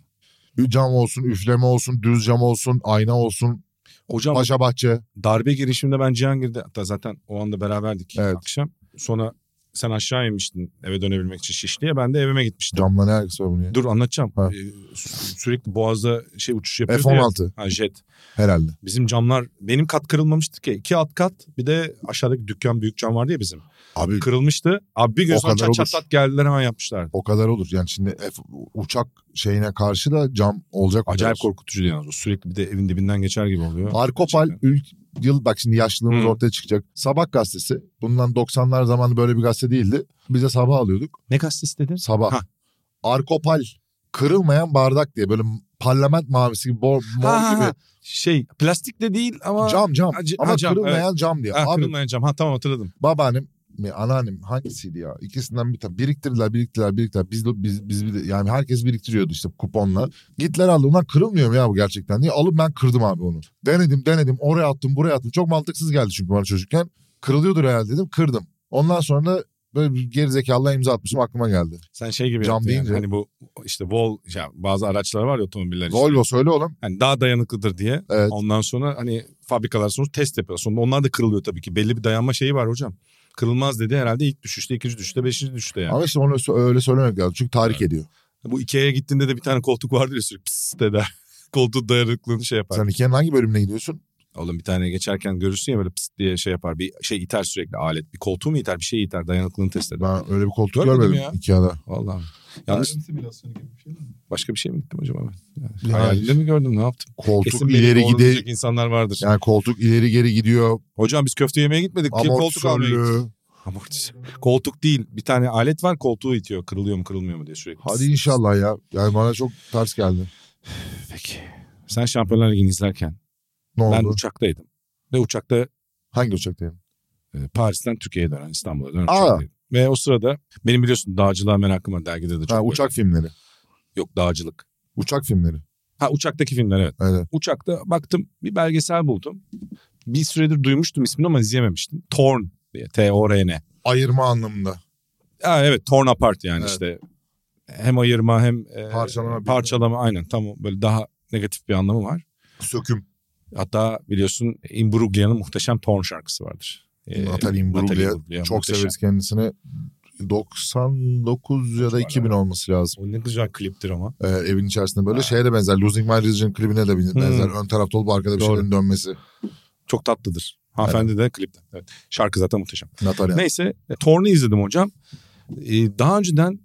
[SPEAKER 3] Cam olsun, üfleme olsun, düz cam olsun, ayna olsun,
[SPEAKER 2] Hocam
[SPEAKER 3] paşa bahçe.
[SPEAKER 2] darbe girişiminde ben Cihangir'de hatta zaten o anda beraberdik
[SPEAKER 3] Evet.
[SPEAKER 2] akşam. Sonra Sen aşağı inmiştin eve dönebilmek için Şişli'ye. Ben de evime gitmiştim.
[SPEAKER 3] Camla ne alakası var bunun ya?
[SPEAKER 2] Dur anlatacağım.
[SPEAKER 3] Ha.
[SPEAKER 2] Ee, sü- sürekli boğazda şey uçuş yapıyordu ya.
[SPEAKER 3] F-16
[SPEAKER 2] Ha, jet.
[SPEAKER 3] herhalde.
[SPEAKER 2] Bizim camlar benim kat kırılmamıştı ki. İki alt kat bir de aşağıdaki dükkan büyük cam vardı ya bizim.
[SPEAKER 3] Abi
[SPEAKER 2] Kırılmıştı. Abi bir gözden
[SPEAKER 3] kadar
[SPEAKER 2] çat çat
[SPEAKER 3] olur.
[SPEAKER 2] çat geldiler hemen yapmışlardı.
[SPEAKER 3] o kadar olur. Yani şimdi F- uçak şeyine karşı da cam olacak.
[SPEAKER 2] Acayip
[SPEAKER 3] kadar.
[SPEAKER 2] korkutucu yalnız. O Sürekli bir de evin dibinden geçer gibi oluyor.
[SPEAKER 3] Arkopal ülk yıl bak şimdi yaşlılığımız
[SPEAKER 2] Hı.
[SPEAKER 3] ortaya çıkacak. Sabah gazetesi. Bundan 90'lar zamanı böyle bir gazete değildi. Biz de sabah alıyorduk.
[SPEAKER 2] Ne gazetesi dedin?
[SPEAKER 3] Sabah.
[SPEAKER 2] Hah.
[SPEAKER 3] Arkopal kırılmayan bardak diye böyle parlament mavisi gibi bor, mor
[SPEAKER 2] Ha, ha,
[SPEAKER 3] gibi.
[SPEAKER 2] ha. Şey plastik de değil ama...
[SPEAKER 3] Cam cam.
[SPEAKER 2] Ha, c-
[SPEAKER 3] Ama
[SPEAKER 2] ha, cam,
[SPEAKER 3] kırılmayan cam diye.
[SPEAKER 2] Ha,
[SPEAKER 3] Abi
[SPEAKER 2] kırılmayan cam. Ha tamam hatırladım.
[SPEAKER 3] babaannem mi anneannem hangisiydi ya? İkisinden bir tane biriktirdiler biriktirdiler biriktirdiler. Biz, de- biz, biz bir de- yani herkes biriktiriyordu işte kuponla. Gittiler aldı ulan kırılmıyor mu ya bu gerçekten diye. Alıp ben kırdım abi onu. Denedim denedim oraya attım buraya attım. Çok mantıksız geldi çünkü bana çocukken. Kırılıyordur herhalde dedim kırdım. Ondan sonra da böyle bir gerizekalıya imza atmışım aklıma geldi.
[SPEAKER 2] Sen şey gibi
[SPEAKER 3] Cam
[SPEAKER 2] yaptın yani.
[SPEAKER 3] deyince-
[SPEAKER 2] Hani bu işte Vol ya bazı araçlar var ya otomobiller işte.
[SPEAKER 3] Volvo söyle oğlum.
[SPEAKER 2] Hani daha dayanıklıdır diye.
[SPEAKER 3] Evet.
[SPEAKER 2] Ondan sonra hani fabrikalar sonra test yapıyor. Sonra onlar da kırılıyor tabii ki. Belli bir dayanma şeyi var hocam. Kırılmaz dedi herhalde ilk düşüşte, ikinci düşüşte, beşinci düşüşte yani.
[SPEAKER 3] Ama işte onu sö- öyle söylemek lazım. Çünkü tahrik ediyor.
[SPEAKER 2] Bu Ikea'ya gittiğinde de bir tane koltuk vardır ya sürekli pıs eder. Koltuğun dayanıklılığını şey yapar.
[SPEAKER 3] Sen Ikea'nın hangi bölümüne gidiyorsun?
[SPEAKER 2] Oğlum bir tane geçerken görürsün ya böyle pıs diye şey yapar. Bir şey iter sürekli alet. Bir koltuğu mu iter bir şey iter dayanıklılığını test eder.
[SPEAKER 3] Ben öyle bir koltuk
[SPEAKER 2] Görmedim
[SPEAKER 3] görmedim
[SPEAKER 2] ya.
[SPEAKER 3] Ikea'da.
[SPEAKER 2] Vallahi.
[SPEAKER 4] Yarın
[SPEAKER 2] Yanlış
[SPEAKER 4] simülasyonu gibi bir şey mi?
[SPEAKER 2] başka bir şey mi gittim acaba ben?
[SPEAKER 3] Yani
[SPEAKER 2] Hayalinde mi gördüm ne yaptım?
[SPEAKER 3] koltuk
[SPEAKER 2] Kesin beni
[SPEAKER 3] ileri gidiyor.
[SPEAKER 2] doğrulayacak insanlar vardır.
[SPEAKER 3] Yani koltuk ileri geri gidiyor.
[SPEAKER 2] Hocam biz köfte yemeye gitmedik. ki koltuk almaya gittik.
[SPEAKER 3] Amortisörlü.
[SPEAKER 2] Amortisör. Koltuk değil. Bir tane alet var koltuğu itiyor. Kırılıyor mu kırılmıyor mu diye sürekli.
[SPEAKER 3] Hadi inşallah ya. Yani bana çok ters geldi.
[SPEAKER 2] Peki. Sen Şampiyonlar Ligi'ni izlerken
[SPEAKER 3] Ne oldu?
[SPEAKER 2] ben uçaktaydım. Ve uçakta
[SPEAKER 3] Hangi uçaktayım?
[SPEAKER 2] e, Paris'ten Türkiye'ye dönen İstanbul'a dönen
[SPEAKER 3] Aa.
[SPEAKER 2] uçaktaydım. Ve o sırada benim biliyorsun dağcılığa merakım var. Dergide de çok.
[SPEAKER 3] Ha,
[SPEAKER 2] böyle-
[SPEAKER 3] uçak filmleri.
[SPEAKER 2] Yok dağcılık.
[SPEAKER 3] Uçak filmleri.
[SPEAKER 2] Ha uçaktaki filmler evet.
[SPEAKER 3] Evet.
[SPEAKER 2] Uçakta baktım bir belgesel buldum. Bir süredir duymuştum ismini ama izleyememiştim. Torn diye. T-O-R-N.
[SPEAKER 3] Ayırma anlamında.
[SPEAKER 2] Ha, evet torn apart yani
[SPEAKER 3] Evet.
[SPEAKER 2] işte. Hem ayırma hem e,
[SPEAKER 3] Parçalama, bilmem.
[SPEAKER 2] parçalama aynen tam o böyle daha negatif bir anlamı var.
[SPEAKER 3] Söküm.
[SPEAKER 2] Hatta biliyorsun Imbruglia'nın muhteşem Torn şarkısı vardır. Ee,
[SPEAKER 3] Natalie Imbruglia.
[SPEAKER 2] Imbruglia
[SPEAKER 3] Çok
[SPEAKER 2] muhteşem.
[SPEAKER 3] severiz kendisini. 99 ya da 2000 olması lazım.
[SPEAKER 2] O ne güzel kliptir ama.
[SPEAKER 3] Ee, evin içerisinde böyle
[SPEAKER 2] Ha.
[SPEAKER 3] şeye de benzer. Losing My Religion klibine de benzer. Ön tarafta olup arkada bir
[SPEAKER 2] Doğru.
[SPEAKER 3] şeylerin dönmesi.
[SPEAKER 2] Çok tatlıdır. Hanımefendi de klipte. Evet. Şarkı zaten muhteşem.
[SPEAKER 3] Natalya.
[SPEAKER 2] Neyse e, Torn'u izledim hocam. Ee, daha önceden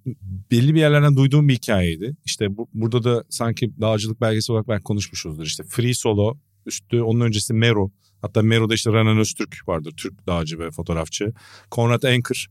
[SPEAKER 2] belli bir yerlerden duyduğum bir hikayeydi. İşte bu- burada da sanki dağcılık belgesi olarak belki konuşmuşuzdur. İşte Free Solo üstü onun öncesi Mero. Hatta Mero'da işte Renan Öztürk vardır. Türk dağcı ve fotoğrafçı. Konrad Anker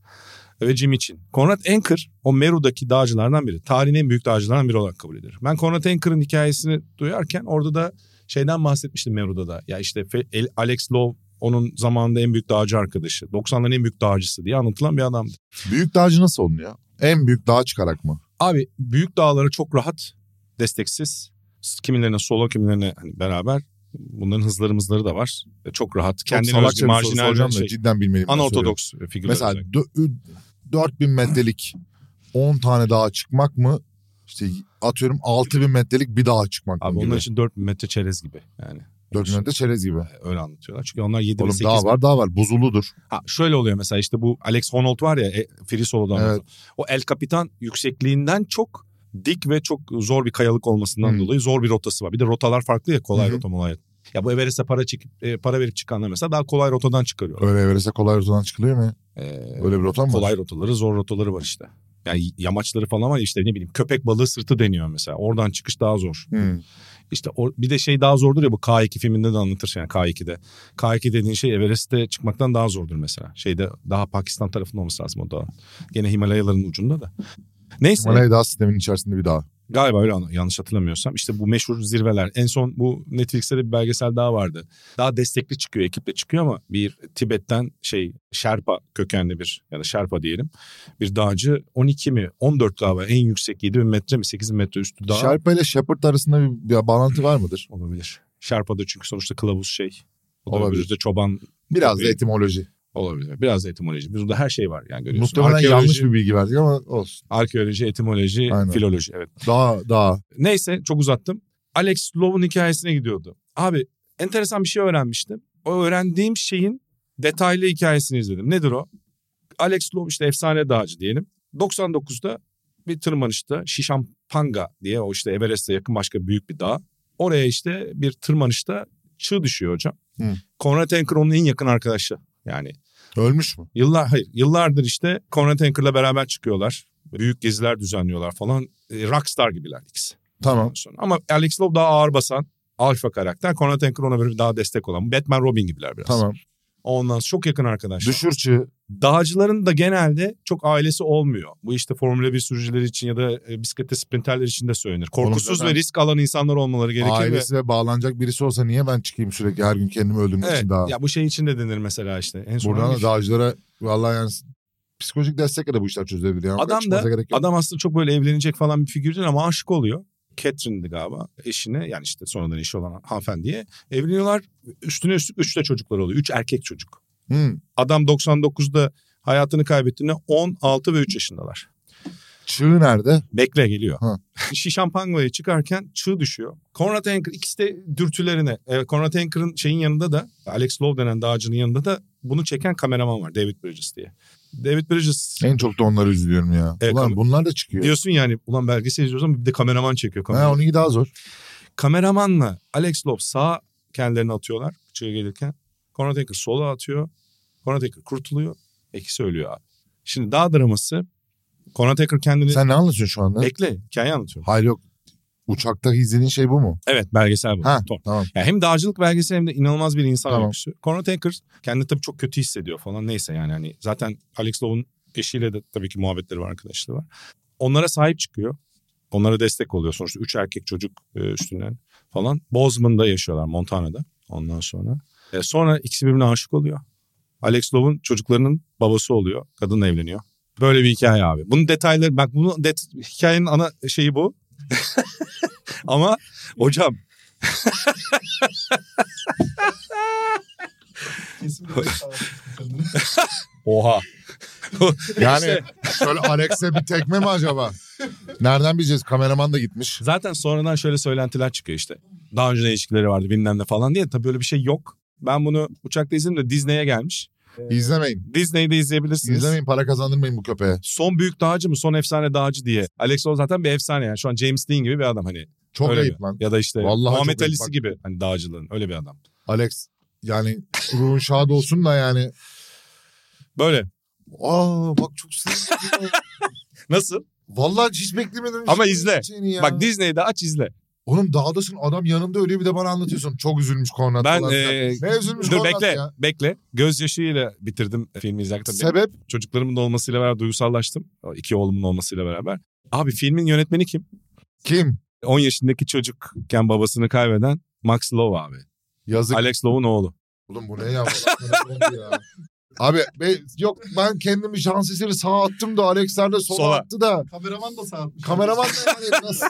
[SPEAKER 2] ve Jim için. Konrad Anker o Meru'daki dağcılardan biri. Tarihin en büyük dağcılardan biri olarak kabul edilir. Ben Konrad Anker'ın hikayesini duyarken orada da şeyden bahsetmiştim Meru'da da. Ya işte Fe- El- Alex Lowe onun zamanında en büyük dağcı arkadaşı. 90'ların en büyük dağcısı diye anlatılan bir adamdı.
[SPEAKER 3] Büyük dağcı nasıl oluyor? En büyük dağa çıkarak mı?
[SPEAKER 2] Abi büyük dağlara çok rahat, desteksiz. Kimilerine solo, kimilerine hani beraber. Bunların hızları mızları da var. E, Çok rahat. Kendini özgü,
[SPEAKER 3] Çok salakça bir soru
[SPEAKER 2] marjinal
[SPEAKER 3] soracağım
[SPEAKER 2] bir
[SPEAKER 3] da
[SPEAKER 2] şey.
[SPEAKER 3] cidden bilmeliyim. ben söylüyorum.
[SPEAKER 2] Anortodoks figürler.
[SPEAKER 3] Mesela
[SPEAKER 2] olarak.
[SPEAKER 3] dö- ü- 4000 metrelik 10 tane dağa çıkmak mı? İşte atıyorum 6000 metrelik bir dağa çıkmak
[SPEAKER 2] Abi
[SPEAKER 3] mı?
[SPEAKER 2] onlar
[SPEAKER 3] gibi.
[SPEAKER 2] için 4000 metre çerez gibi yani.
[SPEAKER 3] 4000 metre çerez gibi.
[SPEAKER 2] E, Öyle anlatıyorlar. Çünkü onlar 7 ve
[SPEAKER 3] Oğlum
[SPEAKER 2] 8
[SPEAKER 3] dağ var dağ var. Buzuludur.
[SPEAKER 2] Ha, şöyle oluyor mesela işte bu Alex Honnold var ya e, Free Solo'dan.
[SPEAKER 3] Evet.
[SPEAKER 2] O El Capitan yüksekliğinden çok dik ve çok zor bir kayalık olmasından
[SPEAKER 3] Hı.
[SPEAKER 2] dolayı zor bir rotası var. Bir de rotalar farklı ya kolay
[SPEAKER 3] Hı hı.
[SPEAKER 2] rota molay. Ya bu Everest'e para çekip e, para verip çıkanlar mesela daha kolay rotadan çıkarıyor.
[SPEAKER 3] Öyle Everest'e kolay rotadan çıkılıyor mu? ya?
[SPEAKER 2] Ee,
[SPEAKER 3] Öyle bir rota mı? var?
[SPEAKER 2] kolay rotaları, zor rotaları var işte. Yani yamaçları falan var ya işte ne bileyim köpek balığı sırtı deniyor mesela. Oradan çıkış daha zor.
[SPEAKER 3] Hı.
[SPEAKER 2] İşte o, bir de şey daha zordur ya bu K2 filminde de anlatır yani K2'de. K2 dediğin şey Everest'te çıkmaktan daha zordur mesela. Şeyde daha Pakistan tarafında olması lazım o da. Gene Himalayaların ucunda da. Neyse
[SPEAKER 3] Himalaya dağ sisteminin içerisinde bir dağ.
[SPEAKER 2] galiba öyle an- yanlış hatırlamıyorsam işte bu meşhur zirveler. En son bu Netflix'te de bir belgesel daha vardı. Daha destekli çıkıyor ekiple çıkıyor ama bir Tibet'ten şey Şerpa kökenli bir ya da Şerpa diyelim. Bir dağcı 12 mi 14 galiba en yüksek 7000 metre mi 8000 metre üstü dağ.
[SPEAKER 3] Sherpa ile Shepherd arasında bir, bir bağlantı var mıdır?
[SPEAKER 2] Olabilir. Şarpa'da çünkü sonuçta kılavuz şey. O da
[SPEAKER 3] Olabilir.
[SPEAKER 2] öbürü de çoban
[SPEAKER 3] Biraz da
[SPEAKER 2] Tabii.
[SPEAKER 3] etimoloji.
[SPEAKER 2] olabilir. Biraz da etimoloji. Burada her şey var yani görüyorsun.
[SPEAKER 3] Muhtemelen
[SPEAKER 2] arkeoloji,
[SPEAKER 3] yanlış bir bilgi verdik ama olsun.
[SPEAKER 2] Arkeoloji, etimoloji,
[SPEAKER 3] Aynen.
[SPEAKER 2] filoloji evet.
[SPEAKER 3] Dağ, dağ.
[SPEAKER 2] Neyse çok uzattım. Alex Love'un hikayesine gidiyordu. Abi enteresan bir şey öğrenmiştim. O öğrendiğim şeyin detaylı hikayesini izledim. Nedir o? Alex Lowe işte efsane dağcı diyelim. 99'da bir tırmanışta Şişampanga diye o işte Everest'e yakın başka büyük bir dağ. Oraya işte bir tırmanışta çığ düşüyor hocam.
[SPEAKER 3] Hı.
[SPEAKER 2] Konrad Anker onun en yakın arkadaşı. Yani
[SPEAKER 3] Ölmüş mü?
[SPEAKER 2] Yıllar hayır yıllardır işte Conrad Anker'la beraber çıkıyorlar. Büyük geziler düzenliyorlar falan. E, rockstar gibiler ikisi.
[SPEAKER 3] Tamam.
[SPEAKER 2] Ondan sonra. Ama Alex Love daha ağır basan alfa karakter. Conrad Anker ona böyle daha destek olan. Batman Robin gibiler biraz.
[SPEAKER 3] Tamam.
[SPEAKER 2] Ondan sonra çok yakın arkadaşlar.
[SPEAKER 3] Düşür çığı.
[SPEAKER 2] Dağcıların da genelde çok ailesi olmuyor. Bu işte Formula 1 sürücüleri için ya da e, bisiklete sprinterler için de söylenir. Korkusuz
[SPEAKER 3] zaten-
[SPEAKER 2] ve risk alan insanlar olmaları gerekir. ve-
[SPEAKER 3] Ailesi ve bağlanacak birisi olsa niye ben çıkayım sürekli her gün kendimi öldürmek
[SPEAKER 2] Evet,
[SPEAKER 3] için daha?
[SPEAKER 2] ya bu şey için de denir mesela işte. En son
[SPEAKER 3] Buradan
[SPEAKER 2] hangi
[SPEAKER 3] da dağcılara vallahi yani psikolojik destekle de bu işler çözülebilir. Yani
[SPEAKER 2] Adam
[SPEAKER 3] Çıkmaza
[SPEAKER 2] da-
[SPEAKER 3] gerek yok.
[SPEAKER 2] Adam aslında çok böyle evlenecek falan bir figür değil ama aşık oluyor. Catherine'di galiba eşine yani işte sonradan eşi olan hanımefendiye. Evleniyorlar üstüne üstlük üç de çocuklar oluyor. Üç erkek çocuk.
[SPEAKER 3] Hı.
[SPEAKER 2] Adam 99'da hayatını kaybettiğinde 16 ve 3 yaşındalar.
[SPEAKER 3] Çığı nerede?
[SPEAKER 2] Bekle geliyor.
[SPEAKER 3] Ha.
[SPEAKER 2] Şişampanga'ya çıkarken çığ düşüyor. Conrad Anker ikisi de dürtülerine. E, Conrad Anker'ın şeyin yanında da Alex Lowe denen dağcının yanında da bunu çeken kameraman var David Bridges diye. David Bridges
[SPEAKER 3] En çok da onları üzülüyorum ya.
[SPEAKER 2] Evet,
[SPEAKER 3] Ulan
[SPEAKER 2] ama-
[SPEAKER 3] bunlar da çıkıyor.
[SPEAKER 2] diyorsun yani ulan belgesel izliyoruz ama bir de kameraman çekiyor.
[SPEAKER 3] Ha,
[SPEAKER 2] Kameraman.
[SPEAKER 3] onunki daha zor.
[SPEAKER 2] kameramanla Alex Lop sağ kendilerini atıyorlar çığa gelirken. Conrad Anker sola atıyor. Conrad Anker kurtuluyor. İkisi ölüyor abi. Şimdi dağ draması Conrad Anker kendini...
[SPEAKER 3] Sen ne anlatıyorsun şu anda?
[SPEAKER 2] Bekle hikaye anlatıyorum.
[SPEAKER 3] Hayır yok. Uçakta izlediğin şey bu mu?
[SPEAKER 2] Evet belgesel bu.
[SPEAKER 3] Ha
[SPEAKER 2] Tamam.
[SPEAKER 3] tamam.
[SPEAKER 2] Ya hem dağcılık belgeseli hem de inanılmaz bir insan
[SPEAKER 3] Tamam.
[SPEAKER 2] öyküsü. Conrad Anker kendini tabii çok kötü hissediyor falan neyse yani hani zaten Alex Lowe'un eşiyle de tabii ki muhabbetleri var arkadaşları var. Onlara sahip çıkıyor. Onlara destek oluyor sonuçta üç erkek çocuk e, üstünden falan. Bozeman'da yaşıyorlar Montana'da ondan sonra. E, sonra ikisi birbirine aşık oluyor. Alex Lowe'un çocuklarının babası oluyor. Kadınla evleniyor. Böyle bir hikaye abi. Bunun detayları bak bunu det- hikayenin ana şeyi bu. Ama hocam
[SPEAKER 4] Kesin bir şey var kendine.
[SPEAKER 2] oha.
[SPEAKER 3] Yani şöyle Alex'e bir tekme mi acaba? Nereden bileceğiz? Kameraman da gitmiş.
[SPEAKER 2] Zaten sonradan şöyle söylentiler çıkıyor işte. Daha önce de ilişkileri vardı bilmem ne falan diye. Tabii öyle bir şey yok. Ben bunu uçakta izledim de Disney'e gelmiş.
[SPEAKER 3] İzlemeyin.
[SPEAKER 2] Disney'de izleyebilirsiniz.
[SPEAKER 3] İzlemeyin para kazandırmayın bu köpeğe.
[SPEAKER 2] Son büyük dağcı mı? Son efsane dağcı diye. Alex Lowe zaten bir efsane yani. Şu an James Dean gibi bir adam hani.
[SPEAKER 3] Çok
[SPEAKER 2] öyle
[SPEAKER 3] ayıp
[SPEAKER 2] bir-
[SPEAKER 3] lan.
[SPEAKER 2] Ya da işte
[SPEAKER 3] Vallahi
[SPEAKER 2] Muhammed
[SPEAKER 3] çok ayıp.
[SPEAKER 2] Ali'si
[SPEAKER 3] Bak-
[SPEAKER 2] gibi hani dağcılığın öyle bir adam.
[SPEAKER 3] Alex yani ruhun şad olsun da yani.
[SPEAKER 2] Böyle.
[SPEAKER 3] Aa bak çok sinirli. şey
[SPEAKER 2] Nasıl?
[SPEAKER 3] Vallahi hiç beklemedim.
[SPEAKER 2] Ama
[SPEAKER 3] Hiç
[SPEAKER 2] izle.
[SPEAKER 3] seni ya.
[SPEAKER 2] Bak Disney'de aç izle.
[SPEAKER 3] Oğlum dağdasın adam yanında ölüyor bir de bana anlatıyorsun. Çok üzülmüş Konrad
[SPEAKER 2] Ben
[SPEAKER 3] falan. filan.
[SPEAKER 2] e,
[SPEAKER 3] Ne üzülmüş
[SPEAKER 2] dur
[SPEAKER 3] Konrad
[SPEAKER 2] bekle
[SPEAKER 3] ya?
[SPEAKER 2] bekle. Gözyaşıyla bitirdim filmi izlerken. Tabii
[SPEAKER 3] Sebep
[SPEAKER 2] Çocuklarımın da olmasıyla beraber duygusallaştım. O İki oğlumun olmasıyla beraber. Abi filmin yönetmeni kim?
[SPEAKER 3] kim?
[SPEAKER 2] 10 yaşındaki çocukken babasını kaybeden Max Lowe abi.
[SPEAKER 3] Yazık.
[SPEAKER 2] Alex Lowe'un oğlu.
[SPEAKER 3] Oğlum bu ne ya? Vallahi ya? Abi be- yok ben kendimi şans eseri sağa attım da Alexler de sola,
[SPEAKER 2] Sola.
[SPEAKER 3] attı da.
[SPEAKER 4] Kameraman da sağlatmış.
[SPEAKER 3] Kameraman da yani nasıl?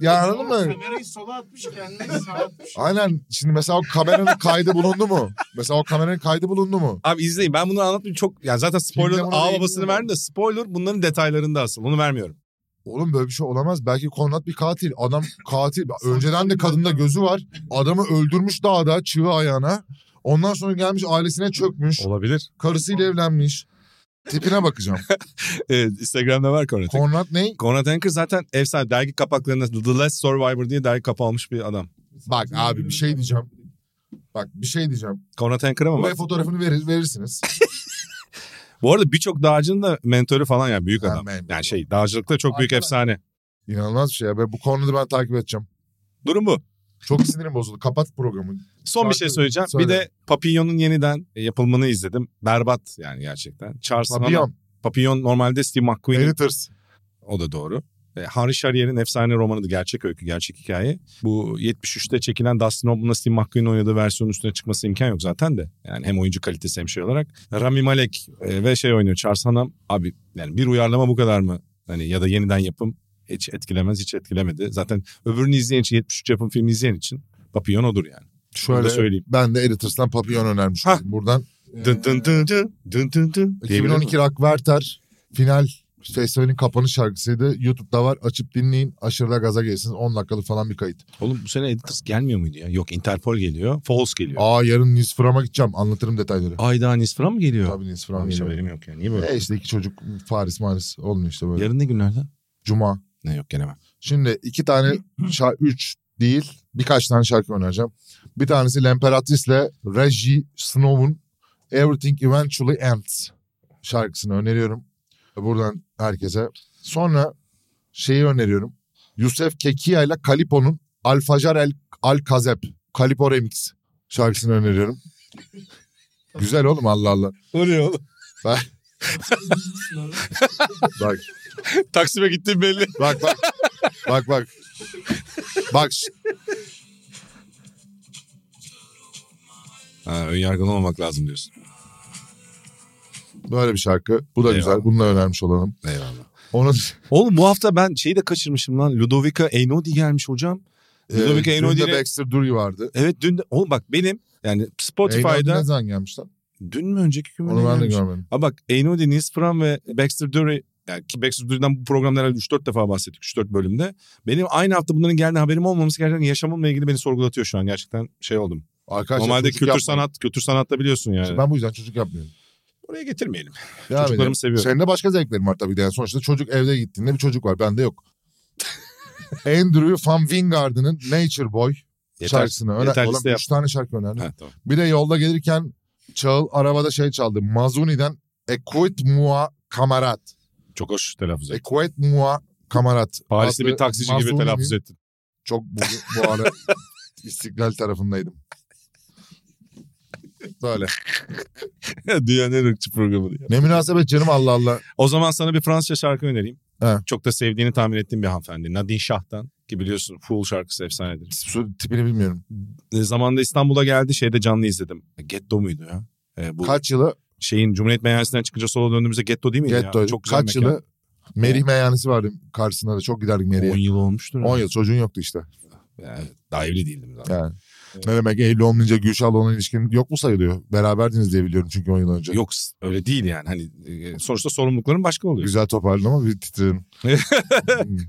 [SPEAKER 3] ya anladın mı?
[SPEAKER 5] Kamerayı sola atmış kendini sağa atmış.
[SPEAKER 3] Aynen şimdi mesela o kameranın kaydı bulundu mu? Mesela o kameranın kaydı bulundu mu?
[SPEAKER 2] Abi izleyin ben bunu anlatmayayım çok yani zaten spoiler
[SPEAKER 3] Filmde bunu
[SPEAKER 2] ağ
[SPEAKER 3] değinmiyorum
[SPEAKER 2] babasını
[SPEAKER 3] ama.
[SPEAKER 2] verdim de spoiler bunların detaylarında asıl onu vermiyorum.
[SPEAKER 3] Oğlum böyle bir şey olamaz. Belki Konrad bir katil. Adam katil. Önceden de kadında gözü var. Adamı öldürmüş dağda çığ ayağına. Ondan sonra gelmiş ailesine çökmüş.
[SPEAKER 2] Olabilir.
[SPEAKER 3] Karısıyla evlenmiş. Tipine bakacağım.
[SPEAKER 2] Evet, Instagram'da var Conrad Anker.
[SPEAKER 3] Konrad ne?
[SPEAKER 2] Conrad Anker zaten efsane dergi kapaklarında The Last Survivor diye dergi kapağı almış bir adam.
[SPEAKER 3] Bak abi bir şey diyeceğim. Bak bir şey diyeceğim.
[SPEAKER 2] Conrad Anker ama
[SPEAKER 3] Buraya
[SPEAKER 2] bak.
[SPEAKER 3] fotoğrafını verir, verirsiniz.
[SPEAKER 2] Bu arada birçok dağcının da mentörü falan ya büyük
[SPEAKER 3] Ha,
[SPEAKER 2] adam.
[SPEAKER 3] ben-
[SPEAKER 2] Yani şey dağcılıkta çok büyük
[SPEAKER 4] Arkadaş.
[SPEAKER 2] efsane.
[SPEAKER 3] İnanılmaz bir şey ya. Ben bu konuda ben takip edeceğim.
[SPEAKER 2] Durum bu.
[SPEAKER 3] Çok sinirim bozuldu. Kapat programı.
[SPEAKER 2] Son bir şey
[SPEAKER 3] Farklı-
[SPEAKER 2] söyleyeceğim.
[SPEAKER 3] söyle.
[SPEAKER 2] Bir de Papillon'un yeniden e, yapılmanı izledim. Berbat yani gerçekten. Charles Papillon.
[SPEAKER 3] Papillon.
[SPEAKER 2] Papillon normalde Steve McQueen'in
[SPEAKER 3] Editors.
[SPEAKER 2] O da doğru. E, Henry Charrier'in efsane romanı gerçek öykü, gerçek hikaye. Bu 73'te çekilen Dustin Hoffman'la Steve McQueen'in oynadığı versiyonun üstüne çıkması imkan yok zaten de. Yani hem oyuncu kalitesi hem şey olarak. Rami Malek e, ve şey oynuyor Charles Hanam. Abi yani bir uyarlama bu kadar mı? Hani ya da yeniden yapım hiç etkilemez, hiç etkilemedi. Zaten öbürünü izleyen için, 73 yapım filmi izleyen için Papillon odur yani. Bunu da
[SPEAKER 3] Şöyle
[SPEAKER 2] söyleyeyim.
[SPEAKER 3] ben de Editors'tan Papillon önermiş
[SPEAKER 2] Hah.
[SPEAKER 3] olayım. Buradan
[SPEAKER 2] Dın dın dın dın dın dın dın. diyebilir miyim?
[SPEAKER 3] 2012 Rock Werther final Festivalin kapanış şarkısıydı. YouTube'da var. Açıp dinleyin. Aşırı da gaza gelsiniz. 10 dakikalık falan bir kayıt.
[SPEAKER 2] Oğlum bu sene Editors gelmiyor muydu ya? Yok Interpol geliyor. False geliyor.
[SPEAKER 3] Aa yarın Nisfram'a gideceğim. Anlatırım detayları.
[SPEAKER 2] Ayda Nisfra mı geliyor?
[SPEAKER 3] Tabii Nisfram
[SPEAKER 2] Abi, hiç
[SPEAKER 3] geliyor.
[SPEAKER 2] haberim yok ya. Niye böyle?
[SPEAKER 3] E işte iki çocuk Paris Maris olmuyor işte böyle.
[SPEAKER 2] Yarın ne günlerde?
[SPEAKER 3] Cuma.
[SPEAKER 2] Ne yok gelemem.
[SPEAKER 3] Şimdi iki tane şarkı, üç değil birkaç tane şarkı önereceğim. Bir tanesi L'Emperatrice'le Reggie Snow'un Everything Eventually Ends şarkısını öneriyorum. Buradan herkese. Sonra şeyi öneriyorum. Yusef Kekia ile Kalipo'nun Alfajar El Al Kazep Kalipo Remix şarkısını öneriyorum. Güzel oğlum Allah Allah.
[SPEAKER 2] Oraya oğlum.
[SPEAKER 3] Bak
[SPEAKER 2] Taksim'e gittiğim belli.
[SPEAKER 3] bak bak. bak bak. Bak ş-
[SPEAKER 2] Ha, önyargılı olmak lazım diyorsun.
[SPEAKER 3] böyle bir şarkı. Bu da güzel.
[SPEAKER 2] Eyvallah.
[SPEAKER 3] Bunu da önermiş olalım.
[SPEAKER 2] Eyvallah.
[SPEAKER 3] Onun
[SPEAKER 2] Oğlum bu hafta ben şeyi de kaçırmışım lan. Ludovica Einaudi gelmiş hocam. Ludovic
[SPEAKER 3] Ee,
[SPEAKER 2] Einaudi
[SPEAKER 3] dün de
[SPEAKER 2] ile-
[SPEAKER 3] Baxter Dury vardı.
[SPEAKER 2] Evet dün de... Oğlum bak benim yani
[SPEAKER 3] Einaudi ne
[SPEAKER 2] Spotify'da
[SPEAKER 3] zaman gelmiş lan?
[SPEAKER 2] dün mü önceki gün mü ne
[SPEAKER 3] Onu ben de
[SPEAKER 2] gelmiş?
[SPEAKER 3] görmedim.
[SPEAKER 2] Ha bak Einaudi, Nils Fram ve Baxter Dury yani ki Baxter Dury'den bu programda herhalde 3-4 defa bahsettik 3-4 bölümde. Benim aynı hafta bunların geldiğine haberim olmaması gerçekten yaşamımla ilgili beni sorgulatıyor şu an. Gerçekten şey oldum.
[SPEAKER 3] Arkadaşlar
[SPEAKER 2] Normalde
[SPEAKER 3] çocuk
[SPEAKER 2] kültür
[SPEAKER 3] yapmayın.
[SPEAKER 2] sanat, kültür sanatta biliyorsun yani.
[SPEAKER 3] İşte Ben bu yüzden çocuk yapmıyorum.
[SPEAKER 2] Oraya getirmeyelim.
[SPEAKER 3] Devam
[SPEAKER 2] Çocuklarımı
[SPEAKER 3] edelim.
[SPEAKER 2] seviyorum.
[SPEAKER 3] Senin de başka zevklerin var tabii de. Yani sonuçta çocuk evde gittiğinde bir çocuk var. Bende yok. Andrew Van Wingarden'ın Nature Boy şarkısını. Öyle,
[SPEAKER 2] yeter
[SPEAKER 3] oğlum
[SPEAKER 2] liste yap.
[SPEAKER 3] üç tane şarkı önerdim.
[SPEAKER 2] Ha, tamam.
[SPEAKER 3] Bir de yolda gelirken Çağıl arabada şey çaldı. Mazuni'den Equit Mua Kamarat.
[SPEAKER 2] Çok hoş telaffuz et.
[SPEAKER 3] Equit Mua Kamarat.
[SPEAKER 2] Paris'te
[SPEAKER 3] Adlı
[SPEAKER 2] bir taksici gibi
[SPEAKER 3] Mazuni'nin-
[SPEAKER 2] telaffuz ettin.
[SPEAKER 3] Çok bu, bu ara İstiklal tarafındaydım. Böyle.
[SPEAKER 2] Dünyanın en ırkçı programı. diye.
[SPEAKER 3] Ne münasebet canım Allah Allah.
[SPEAKER 2] O zaman sana bir Fransızca şarkı önereyim.
[SPEAKER 3] He.
[SPEAKER 2] Çok da sevdiğini tahmin ettiğim bir hanımefendi. Nadine Şah'tan ki biliyorsun Fool şarkısı efsanedir.
[SPEAKER 3] Su tipini bilmiyorum.
[SPEAKER 2] E, zamanında İstanbul'a geldi şeyde canlı izledim. Getto muydu ya? E, bu
[SPEAKER 3] Kaç yılı?
[SPEAKER 2] şeyin Cumhuriyet Meyhanesi'nden çıkınca sola döndüğümüzde Getto değil miydi ya?
[SPEAKER 3] Getto'ydu.
[SPEAKER 2] Çok güzel
[SPEAKER 3] Kaç
[SPEAKER 2] mekan.
[SPEAKER 3] yılı? Merih meyhanesi vardı karşısında da. Çok giderdik
[SPEAKER 2] 10
[SPEAKER 3] Merih'e.
[SPEAKER 2] yıl olmuştur.
[SPEAKER 3] 10 yıl çocuğun yoktu işte.
[SPEAKER 2] Yani, daha evli değildim zaten.
[SPEAKER 3] Yani. Ne demek Eylül olmayınca Gülşah'la olan ilişkin yok mu sayılıyor? Beraberdiniz diye biliyorum çünkü 10 yıl önce.
[SPEAKER 2] Yok öyle değil yani. Hani e, sonuçta sorumlulukların başka oluyor.
[SPEAKER 3] Güzel toparladın ama bir titredim. Hmm.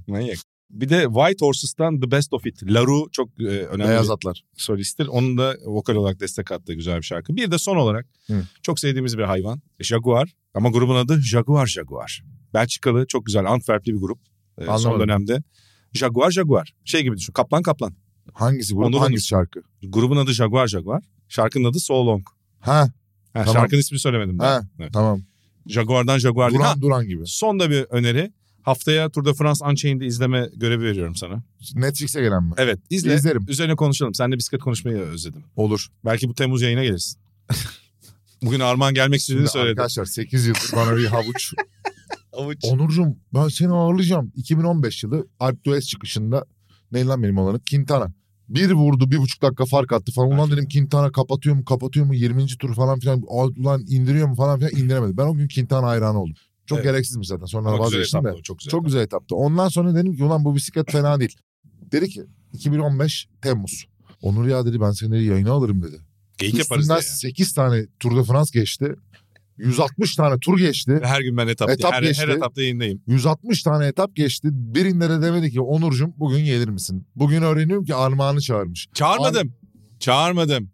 [SPEAKER 2] Manyak. Bir de White Horses'tan The Best of It. Laru çok e, önemli
[SPEAKER 3] Beyaz
[SPEAKER 2] bir
[SPEAKER 3] atlar.
[SPEAKER 2] solisttir. Onun da vokal olarak destek attığı güzel bir şarkı. Bir de son olarak
[SPEAKER 3] Hı.
[SPEAKER 2] çok sevdiğimiz bir hayvan. Jaguar. Ama grubun adı Jaguar Jaguar. Belçikalı çok güzel Antwerpli bir grup. E, son
[SPEAKER 3] Anlamadım.
[SPEAKER 2] dönemde. Jaguar Jaguar. Şey gibi düşün. Kaplan Kaplan.
[SPEAKER 3] Hangisi grup
[SPEAKER 2] Ondan onu-
[SPEAKER 3] hangisi şarkı?
[SPEAKER 2] Grubun adı Jaguar Jaguar. Şarkının adı So Long.
[SPEAKER 3] Ha
[SPEAKER 2] Ha,
[SPEAKER 3] Tamam.
[SPEAKER 2] Şarkının ismini söylemedim.
[SPEAKER 3] Ha.
[SPEAKER 2] Ben. Evet.
[SPEAKER 3] tamam.
[SPEAKER 2] Jaguar'dan Jaguar değil. Ha,
[SPEAKER 3] Duran Duran gibi.
[SPEAKER 2] son da bir öneri. Haftaya Tour de France Unchained'i izleme görevi veriyorum sana.
[SPEAKER 3] Netflix'e gelen mi?
[SPEAKER 2] Evet izle.
[SPEAKER 3] İzlerim.
[SPEAKER 2] Üzerine konuşalım. Seninle bisiklet konuşmayı özledim.
[SPEAKER 3] Olur.
[SPEAKER 2] Belki bu Temmuz yayına gelirsin. Bugün Armağan gelmek istediğini
[SPEAKER 3] Şimdi
[SPEAKER 2] söyledi.
[SPEAKER 3] Arkadaşlar 8 yıldır bana bir havuç.
[SPEAKER 2] Avuç.
[SPEAKER 3] Onurcuğum ben seni ağırlayacağım. 2015 yılı Alp Dues çıkışında ne lan benim olanı? Quintana. Bir vurdu bir buçuk dakika fark attı falan. Ulan dedim Quintana kapatıyor mu kapatıyor mu 20. tur falan filan. Ulan indiriyor mu falan filan indiremedi. Ben o gün Quintana hayranı oldum. Çok
[SPEAKER 2] Evet.
[SPEAKER 3] gereksizmiş zaten. Sonra
[SPEAKER 2] Ama güzel
[SPEAKER 3] vazgeçtim de.
[SPEAKER 2] etaptı o, Çok güzel.
[SPEAKER 3] Çok güzel etaptı. Ondan sonra dedim ki ulan bu bisiklet fena değil. Dedi ki 2015 Temmuz. Onur ya dedi ben seni yayına alırım dedi.
[SPEAKER 2] Geyik yaparız
[SPEAKER 3] Üstünden
[SPEAKER 2] diye.
[SPEAKER 3] 8 tane Tour de France geçti. 160 tane tur geçti.
[SPEAKER 2] yani. Her gün ben etap,
[SPEAKER 3] Etap
[SPEAKER 2] her,
[SPEAKER 3] geçti.
[SPEAKER 2] her etapta yayındayım.
[SPEAKER 3] 160 tane etap geçti. Birinde de demedi ki Onurcuğum bugün gelir misin? Bugün öğreniyorum ki Armağan'ı çağırmış.
[SPEAKER 2] Çağırmadım. Çağırmadım.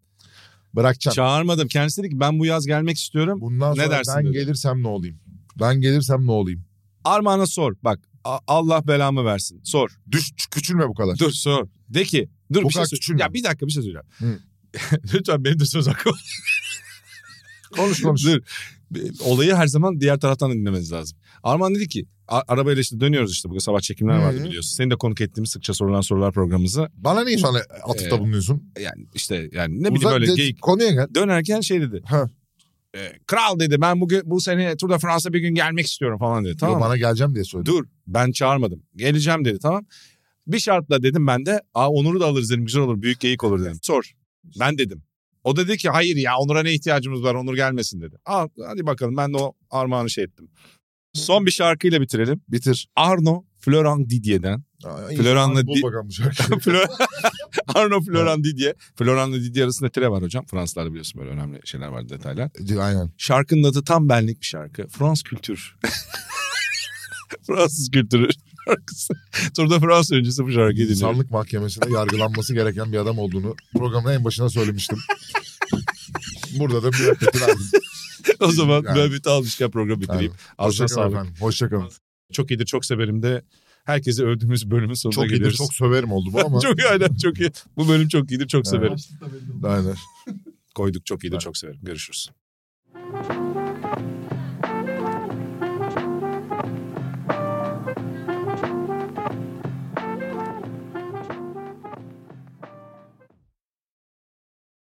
[SPEAKER 3] Bırakacağım.
[SPEAKER 2] Çağırmadım. Kendisi dedi ki ben bu yaz gelmek istiyorum.
[SPEAKER 3] Bundan
[SPEAKER 2] Ne
[SPEAKER 3] sonra
[SPEAKER 2] dersin
[SPEAKER 3] ben
[SPEAKER 2] dedi.
[SPEAKER 3] gelirsem ne olayım? Ben gelirsem ne olayım?
[SPEAKER 2] Armağan'a sor. Bak a- Allah belamı versin. Sor.
[SPEAKER 3] Düş küçülme bu kadar.
[SPEAKER 2] Dur sor. De ki dur
[SPEAKER 3] Bu
[SPEAKER 2] bir şey
[SPEAKER 3] kadar
[SPEAKER 2] söyle.
[SPEAKER 3] küçülme.
[SPEAKER 2] Ya bir dakika bir şey söyleyeceğim.
[SPEAKER 3] Hı.
[SPEAKER 2] Lütfen benim de söz hakkım.
[SPEAKER 3] Konuş konuş.
[SPEAKER 2] dur. Bir- Olayı her zaman diğer taraftan da dinlemeniz lazım. Armağan dedi ki a- arabayla işte dönüyoruz işte bugün sabah çekimler vardı
[SPEAKER 3] Hı.
[SPEAKER 2] biliyorsun. Seni de konuk ettiğimiz sıkça sorulan sorular programımızı.
[SPEAKER 3] Bana niye şu an atıfta
[SPEAKER 2] Ee,
[SPEAKER 3] bulunuyorsun?
[SPEAKER 2] Yani işte yani ne
[SPEAKER 3] Uzak
[SPEAKER 2] bileyim böyle
[SPEAKER 3] de-
[SPEAKER 2] geyik.
[SPEAKER 3] Konuya gel.
[SPEAKER 2] Dönerken şey dedi.
[SPEAKER 3] Ha.
[SPEAKER 2] E, Kral dedi ben bugün bu sene Tour de France'a bir gün gelmek istiyorum falan dedi. Tamam
[SPEAKER 3] Yo,
[SPEAKER 2] mı?
[SPEAKER 3] bana geleceğim diye söyledim.
[SPEAKER 2] Dur ben çağırmadım. Geleceğim dedi tamam. Bir şartla dedim ben de. Aa Onur'u da alırız dedim güzel olur büyük geyik olur dedim. Sor. Ben dedim. O da dedi ki hayır ya Onur'a ne ihtiyacımız var Onur gelmesin dedi. Aa, hadi bakalım ben de o armağanı şey ettim. Son bir şarkıyla bitirelim.
[SPEAKER 3] Bitir.
[SPEAKER 2] Arno Florent Didier'den.
[SPEAKER 3] Aa,
[SPEAKER 2] Floran'la
[SPEAKER 3] insan bul
[SPEAKER 2] di-
[SPEAKER 3] bakalım bu şarkıyı.
[SPEAKER 2] Flor- Arno Florent Didier. Florent'la Didier arasında tire var hocam. Fransızlarda biliyorsun böyle önemli şeyler var detaylar.
[SPEAKER 3] Aynen.
[SPEAKER 2] Şarkının adı tam benlik bir şarkı. Frans kültür. Fransız kültürü şarkısı. Turda Fransa öncesi bu şarkıyı dinliyorum.
[SPEAKER 3] İnsanlık mahkemesinde yargılanması gereken bir adam olduğunu programın en başına söylemiştim. Burada da bir repeti verdim.
[SPEAKER 2] o zaman
[SPEAKER 3] Yani.
[SPEAKER 2] nöbeti almışken programı bitireyim. Ağzına
[SPEAKER 3] Hoşçakalın
[SPEAKER 2] sağlık.
[SPEAKER 3] efendim. Hoşçakalın.
[SPEAKER 2] Çok iyidir çok severim de herkesi övdüğümüz bölümün sonuna
[SPEAKER 3] Çok iyidir
[SPEAKER 2] geliyoruz.
[SPEAKER 3] çok söverim oldu bu ama.
[SPEAKER 2] çok aynen çok iyi. Bu bölüm çok iyidir çok
[SPEAKER 3] Evet.
[SPEAKER 2] severim.
[SPEAKER 4] Başlık da belli oldu.
[SPEAKER 3] Aynen.
[SPEAKER 2] Koyduk çok iyidir
[SPEAKER 3] Evet.
[SPEAKER 2] çok severim. Görüşürüz.